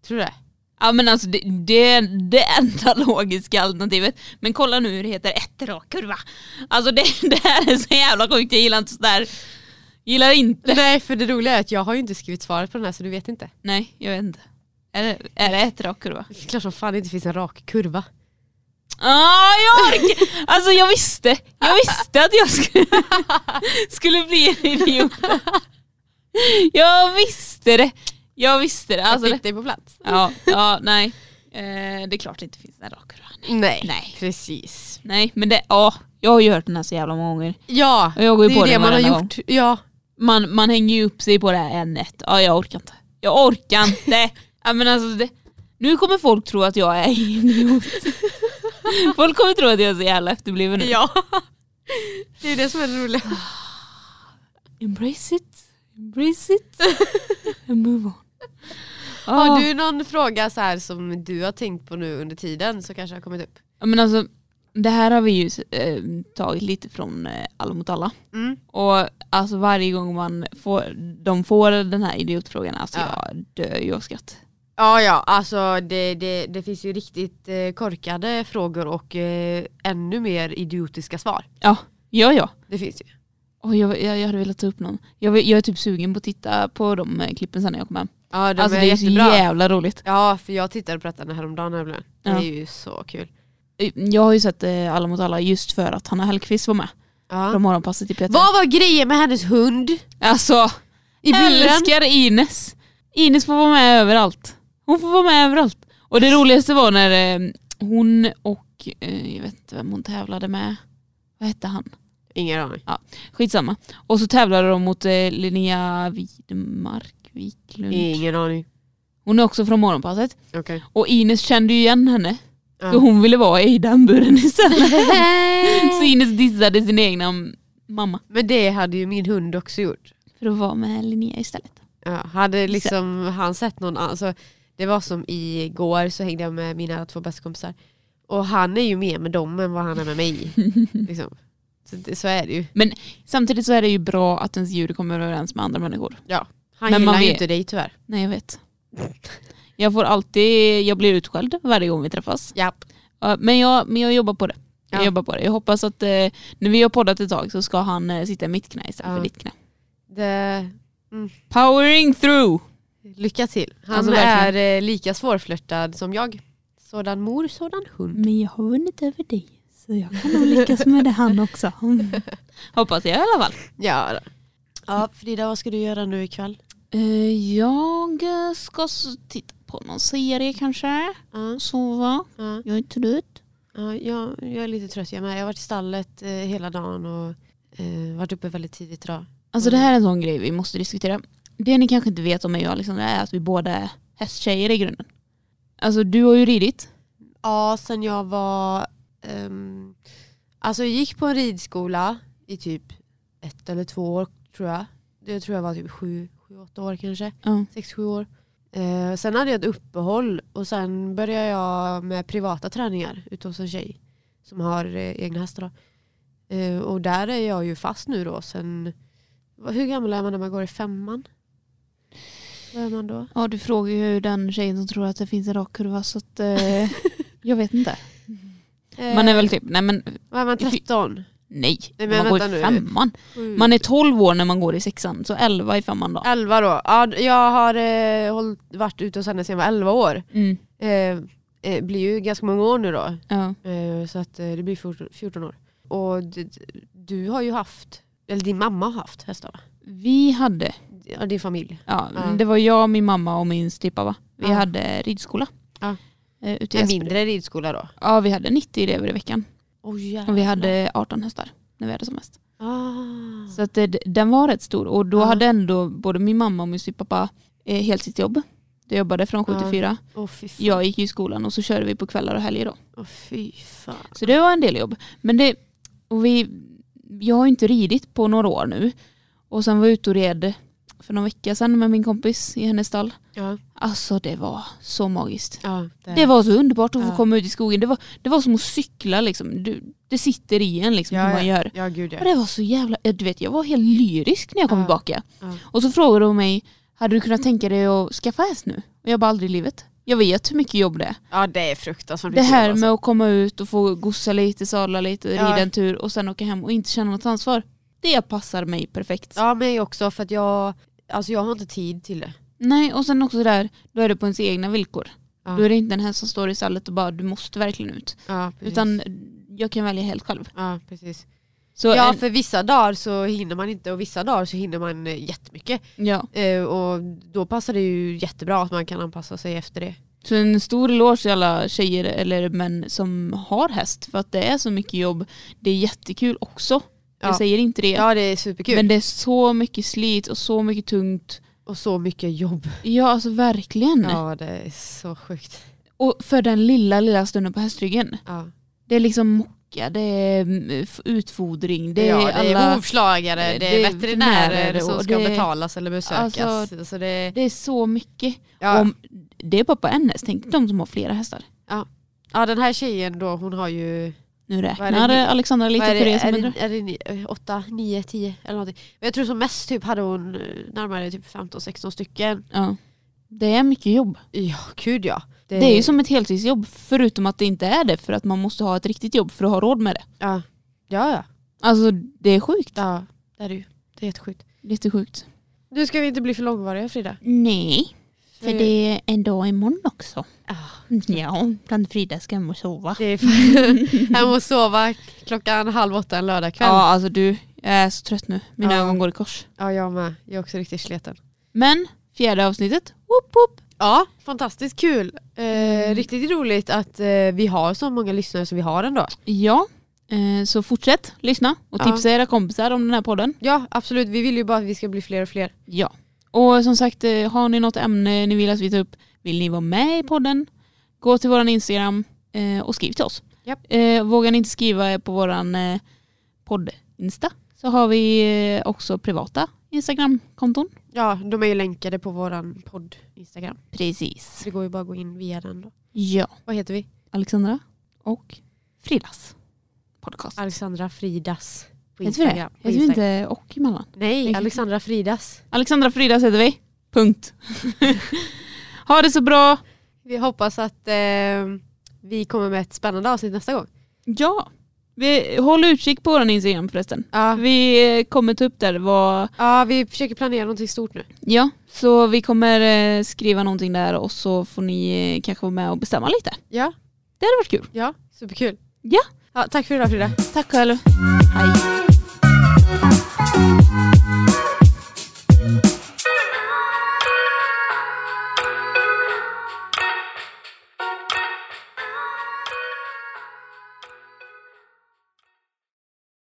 Speaker 1: Tror du det?
Speaker 2: Ja men alltså det, det är det enda logiska alternativet. Men kolla nu hur det heter ett rak kurva. Alltså det, det här är så jävla sjukt, jag gillar inte sådär. Gillar inte.
Speaker 1: Nej, för det roliga är att jag har ju inte skrivit svaret på den här så du vet inte.
Speaker 2: Nej jag vet inte. Är det, är det ett rak kurva?
Speaker 1: Det är klart som fan det inte finns en rak kurva.
Speaker 2: Ah, jag orkar. Alltså jag visste, jag visste att jag skulle, skulle bli en idiot. Jag visste det. Jag visste det. Alltså,
Speaker 1: jag
Speaker 2: det.
Speaker 1: fick dig på plats.
Speaker 2: Ja, ja, nej. Eh, det är klart det inte finns en rak kurva. Nej.
Speaker 1: Nej.
Speaker 2: Nej.
Speaker 1: precis.
Speaker 2: Nej, men det, ja. Jag har ju hört den här så jävla många gånger.
Speaker 1: Ja,
Speaker 2: Och jag går ju
Speaker 1: det
Speaker 2: på
Speaker 1: är det
Speaker 2: den
Speaker 1: man har
Speaker 2: varenda
Speaker 1: gjort. Ja.
Speaker 2: Man, man hänger ju upp sig på det här ämnet. Ja, jag orkar inte. Jag orkar inte. ja, men alltså, det, nu kommer folk tro att jag är en idiot. Folk kommer tro att jag är så jävla efterbliven nu.
Speaker 1: ja. Det är det som är det roliga.
Speaker 2: Embrace it, embrace it and move on.
Speaker 1: Har
Speaker 2: Ah,
Speaker 1: du någon fråga så här som du har tänkt på nu under tiden som kanske har kommit upp?
Speaker 2: ja, men alltså, det här har vi ju eh, tagit lite från eh, Alla mot alla.
Speaker 1: Mm.
Speaker 2: Och alltså varje gång man får, de får den här idiotfrågan, alltså
Speaker 1: Ja.
Speaker 2: jag dör ju av skratt.
Speaker 1: Ja, ja, alltså det, det, det finns ju riktigt eh, korkade frågor och eh, ännu mer idiotiska svar.
Speaker 2: Ja, ja ja.
Speaker 1: Det finns ju.
Speaker 2: Oh, jag, jag, jag hade velat ta upp någon. Jag, vill- jag är typ sugen på att titta på de eh, klippen sen när jag kommer hem.
Speaker 1: Ja, de
Speaker 2: alltså
Speaker 1: är
Speaker 2: det är så
Speaker 1: jättebra.
Speaker 2: jävla roligt.
Speaker 1: Ja, för jag tittade på detta häromdagen nämligen. Det
Speaker 2: Ja.
Speaker 1: är ju så kul.
Speaker 2: Eh, Jag har ju sett eh, Alla mot alla just för att Hanna Hellquist var med
Speaker 1: Ja.
Speaker 2: från Morgonpasset i P3.
Speaker 1: Vad var grejen med hennes hund
Speaker 2: Alltså,
Speaker 1: i buren?
Speaker 2: älskar Ines. Ines får vara med överallt. Hon får vara med överallt. Och det roligaste var när eh, hon och, eh, jag vet inte vem hon tävlade med, vad hette han?
Speaker 1: Ingen aning.
Speaker 2: Skitsamma. Och så tävlade de mot eh, Linnea Widmark, Wiklund.
Speaker 1: Ingen aning.
Speaker 2: Hon är också från Morgonpasset.
Speaker 1: Okej.
Speaker 2: Och Ines kände ju igen henne.
Speaker 1: Ja.
Speaker 2: Så hon ville vara i den buren istället. så Ines dissade sin egna m- mamma
Speaker 1: Men det hade ju min hund också gjort.
Speaker 2: för att vara med Linnea istället.
Speaker 1: Ja, hade liksom han sett någon annan, alltså, det var som igår så hängde jag med mina två bästa kompisar. Och han är ju mer med dem än vad han är med mig. liksom. så, det, så är det ju.
Speaker 2: Men samtidigt så är det ju bra att ens djur kommer överens med andra människor.
Speaker 1: Han
Speaker 2: Men
Speaker 1: gillar
Speaker 2: man
Speaker 1: ju
Speaker 2: vet-
Speaker 1: inte dig tyvärr.
Speaker 2: Nej jag vet. Jag får alltid, jag blir utskälld varje gång vi träffas.
Speaker 1: Ja.
Speaker 2: Ja, Men jag, men jag jobbar på det. Jag
Speaker 1: Ja.
Speaker 2: jobbar på det. Jag hoppas att eh, när vi har poddat ett tag så ska han eh, sitta i mitt knä istället
Speaker 1: Ja.
Speaker 2: för ditt knä.
Speaker 1: Det,
Speaker 2: Powering through!
Speaker 1: lycka till. Han
Speaker 2: Alltså,
Speaker 1: är
Speaker 2: verkligen.
Speaker 1: eh, lika svårflörtad som jag. Sådan mor, sådan hund.
Speaker 2: Men jag har vunnit över dig. Så jag kan nog lyckas med det han också. Hoppas jag i alla fall.
Speaker 1: Ja. ja, Frida vad ska du göra nu ikväll?
Speaker 2: Eh, Jag eh, ska s- titta på någon serie kanske.
Speaker 1: Ja,
Speaker 2: Sova.
Speaker 1: ja,
Speaker 2: Jag är trött.
Speaker 1: ja, jag, jag är lite trött jag med. Jag har varit i stallet eh, hela dagen och eh, varit uppe väldigt tidigt idag.
Speaker 2: Alltså
Speaker 1: Mm.
Speaker 2: det här är en sån grej vi måste diskutera. Det ni kanske inte vet om mig och Alexandra är att vi båda är hästtjejer i grunden. Alltså du har ju ridit.
Speaker 1: Ja, sen jag var... ehm, alltså jag gick på en ridskola i typ ett eller två år tror jag. Det tror jag var typ sju, sju åtta år kanske.
Speaker 2: Ja.
Speaker 1: Sex, sju år. Eh, sen hade jag ett uppehåll och sen började jag med privata träningar ute hos en tjej som har eh, egna hästar. Då. Eh, och där är jag ju fast nu då sen... vad- Hur gammal är man när man går i femman? Vad är man då?
Speaker 2: Ja du frågar ju den tjejen som tror att det finns en rak kurva så att eh, jag vet inte. Eh, Man är väl typ, nej men
Speaker 1: Vad är man, 13?
Speaker 2: Nej,
Speaker 1: Nej, men
Speaker 2: man går i
Speaker 1: vänta nu.
Speaker 2: femman. Man är 12 år när man går i sexan, så 11 i femman då.
Speaker 1: 11 då. Ja, d- jag har eh, hållit, varit ute hos henne sedan jag var 11 år.
Speaker 2: Mm.
Speaker 1: Eh, eh, blir ju ganska många år nu då.
Speaker 2: Ja.
Speaker 1: Eh, så att eh, det blir 14, 14 år. Och d- d- du har ju haft, eller din mamma har haft hästar va?
Speaker 2: Vi hade,
Speaker 1: Ja, din familj.
Speaker 2: ja,
Speaker 1: Ja.
Speaker 2: det var jag, min mamma och min styvpappa. va? Vi
Speaker 1: Ja.
Speaker 2: hade ridskola.
Speaker 1: Ja.
Speaker 2: Eh, Ute i
Speaker 1: En
Speaker 2: Gäsperud.
Speaker 1: mindre ridskola då.
Speaker 2: Ja, vi hade 90 elever i veckan.
Speaker 1: Oh, jävlar.
Speaker 2: Och vi hade 18 hästar när vi hade som mest.
Speaker 1: Ah.
Speaker 2: Så att det, den var rätt stor. Och då
Speaker 1: Ja.
Speaker 2: hade ändå både min mamma och min styvpappa eh, heltidsjobb. Jag jobbade från 7
Speaker 1: Ja.
Speaker 2: till 4.
Speaker 1: Åh fy fan.
Speaker 2: Jag gick ju i skolan och så körde vi på kvällar och helger då.
Speaker 1: Åh, fy fan.
Speaker 2: Så det var en del jobb. Men det, och vi, jag har ju inte ridit på några år nu. Och sen var jag ute och red för någon vecka sedan med min kompis i hennes stall.
Speaker 1: Ja,
Speaker 2: Alltså det var så magiskt.
Speaker 1: ja, det.
Speaker 2: Det var så underbart att få
Speaker 1: Eh. Ja.
Speaker 2: komma ut i skogen. Det var, det var som att cykla liksom. Du, det sitter i en liksom
Speaker 1: Ja,
Speaker 2: hur man gör.
Speaker 1: ja gud
Speaker 2: Och
Speaker 1: ja.
Speaker 2: det var så jävla, ja, du vet jag var helt lyrisk när jag kom
Speaker 1: Ja.
Speaker 2: tillbaka.
Speaker 1: Ja.
Speaker 2: Och så frågade hon mig, hade du kunnat tänka dig att skaffa häst nu? Och jag bara aldrig i livet. Jag vet hur mycket jobb det är.
Speaker 1: Ja det är fruktansvärt
Speaker 2: Det
Speaker 1: mycket
Speaker 2: här
Speaker 1: jobb, alltså.
Speaker 2: med att komma ut och få gossa lite, sadla lite,
Speaker 1: Ja.
Speaker 2: rida en tur och sen åka hem och inte känna något ansvar. Det passar mig perfekt.
Speaker 1: Ja mig också för att jag, alltså jag har inte tid till det.
Speaker 2: Nej och sen också det där, då är det på ens egna villkor.
Speaker 1: Ja.
Speaker 2: Då är det inte en häst som står i stallet och bara du måste verkligen ut.
Speaker 1: Ja, precis.
Speaker 2: Utan jag kan välja helt själv.
Speaker 1: ja, precis.
Speaker 2: Så
Speaker 1: ja
Speaker 2: ja,
Speaker 1: för vissa dagar så hinner man inte och vissa dagar så hinner man eh, jättemycket.
Speaker 2: en, ja.
Speaker 1: Eh, och då passar det ju jättebra att man kan anpassa sig efter det.
Speaker 2: Så en stor eloge till alla tjejer eller män som har häst för att det är så mycket jobb. Det är jättekul också.
Speaker 1: Ja.
Speaker 2: Jag säger inte det.
Speaker 1: Ja det är superkul.
Speaker 2: men det är så mycket slit och så mycket tungt.
Speaker 1: och så mycket jobb.
Speaker 2: Ja alltså verkligen.
Speaker 1: Ja det är så sjukt.
Speaker 2: Och för den lilla lilla stunden på hästryggen.
Speaker 1: Ja.
Speaker 2: Det är liksom mocka, det är mm, f- utfodring, det är
Speaker 1: ja, det är
Speaker 2: alla...
Speaker 1: hovslagare, det
Speaker 2: det är
Speaker 1: är veterinärer
Speaker 2: veterinärer
Speaker 1: som
Speaker 2: och
Speaker 1: ska
Speaker 2: det-
Speaker 1: betalas eller besökas.
Speaker 2: Alltså-
Speaker 1: så det,
Speaker 2: Det är så mycket.
Speaker 1: ja.
Speaker 2: Om, det är bara på en häst, tänk de som har flera hästar.
Speaker 1: ja den här tjejen då hon har ju
Speaker 2: Nu
Speaker 1: Vad är
Speaker 2: räknar
Speaker 1: det?
Speaker 2: Alexandra lite
Speaker 1: Vad är,
Speaker 2: för
Speaker 1: det,
Speaker 2: er
Speaker 1: är,
Speaker 2: som
Speaker 1: det,
Speaker 2: undrar.
Speaker 1: är det ni- eh, åtta, nio, tio eller någonting. Men jag tror som mest typ hade hon eh, närmare typ 15-16 stycken.
Speaker 2: Ja. Det är mycket jobb.
Speaker 1: Ja, gud ja.
Speaker 2: Det är ju som ett heltidsjobb förutom att det inte är det för att man måste ha ett riktigt jobb för att ha råd med det.
Speaker 1: Ja, ja. ja.
Speaker 2: Alltså det är sjukt.
Speaker 1: ja det är det ju. Det är jättesjukt.
Speaker 2: Lite sjukt.
Speaker 1: Nu ska vi inte bli för långvariga Frida.
Speaker 2: Nej, för det är en dag imorgon också.
Speaker 1: Ja,
Speaker 2: Ja, bland Frida ska hem och sova.
Speaker 1: det är fan- Jag måste sova klockan halv åtta en lördagkväll.
Speaker 2: Ja alltså du, jag är så trött nu. Mina
Speaker 1: Ja.
Speaker 2: ögon går i kors.
Speaker 1: ja, jag med. Jag är också riktigt sliten.
Speaker 2: Men fjärde avsnittet, whoop, whoop.
Speaker 1: Ja, fantastiskt kul. Eh, Riktigt roligt att eh, vi har så många lyssnare som vi har ändå.
Speaker 2: Ja, eh, så fortsätt lyssna och
Speaker 1: Ja.
Speaker 2: tipsa era kompisar om den här podden.
Speaker 1: Ja, absolut. Vi vill ju bara att vi ska bli fler och fler.
Speaker 2: Ja. Och som sagt, eh, har ni något ämne ni vill att vi tar upp, vill ni vara med i podden, gå till vår Instagram eh, och skriv till oss.
Speaker 1: Japp.
Speaker 2: Eh, vågar ni inte skriva på vår eh, podd-insta så har vi eh, också privata Instagram-konton.
Speaker 1: Ja, de är ju länkade på våran podd Instagram. Så
Speaker 2: Precis.
Speaker 1: det går ju bara att gå in via den då.
Speaker 2: Ja.
Speaker 1: Vad heter vi?
Speaker 2: Alexandra och Fridas podcast.
Speaker 1: Alexandra Fridas på
Speaker 2: Heter vi det?
Speaker 1: Instagram. På
Speaker 2: Heter vi
Speaker 1: Instagram.
Speaker 2: inte och emellan?
Speaker 1: Nej,
Speaker 2: Nej.
Speaker 1: Alexandra Fridas.
Speaker 2: Alexandra Fridas heter vi. Punkt. ha det så bra.
Speaker 1: Vi hoppas att eh, vi kommer med ett spännande avsnitt nästa gång.
Speaker 2: Ja. Vi, håll utkik på vår Instagram förresten.
Speaker 1: Ja,
Speaker 2: Vi eh, kommer ta upp där vad...
Speaker 1: ja vi försöker planera någonting stort nu.
Speaker 2: Ja, så vi kommer eh, skriva någonting där och så får ni eh, kanske vara med och bestämma lite.
Speaker 1: Ja,
Speaker 2: Det hade varit kul.
Speaker 1: ja superkul.
Speaker 2: Ja.
Speaker 1: ja tack för idag Frida.
Speaker 2: Tack själv. Hej.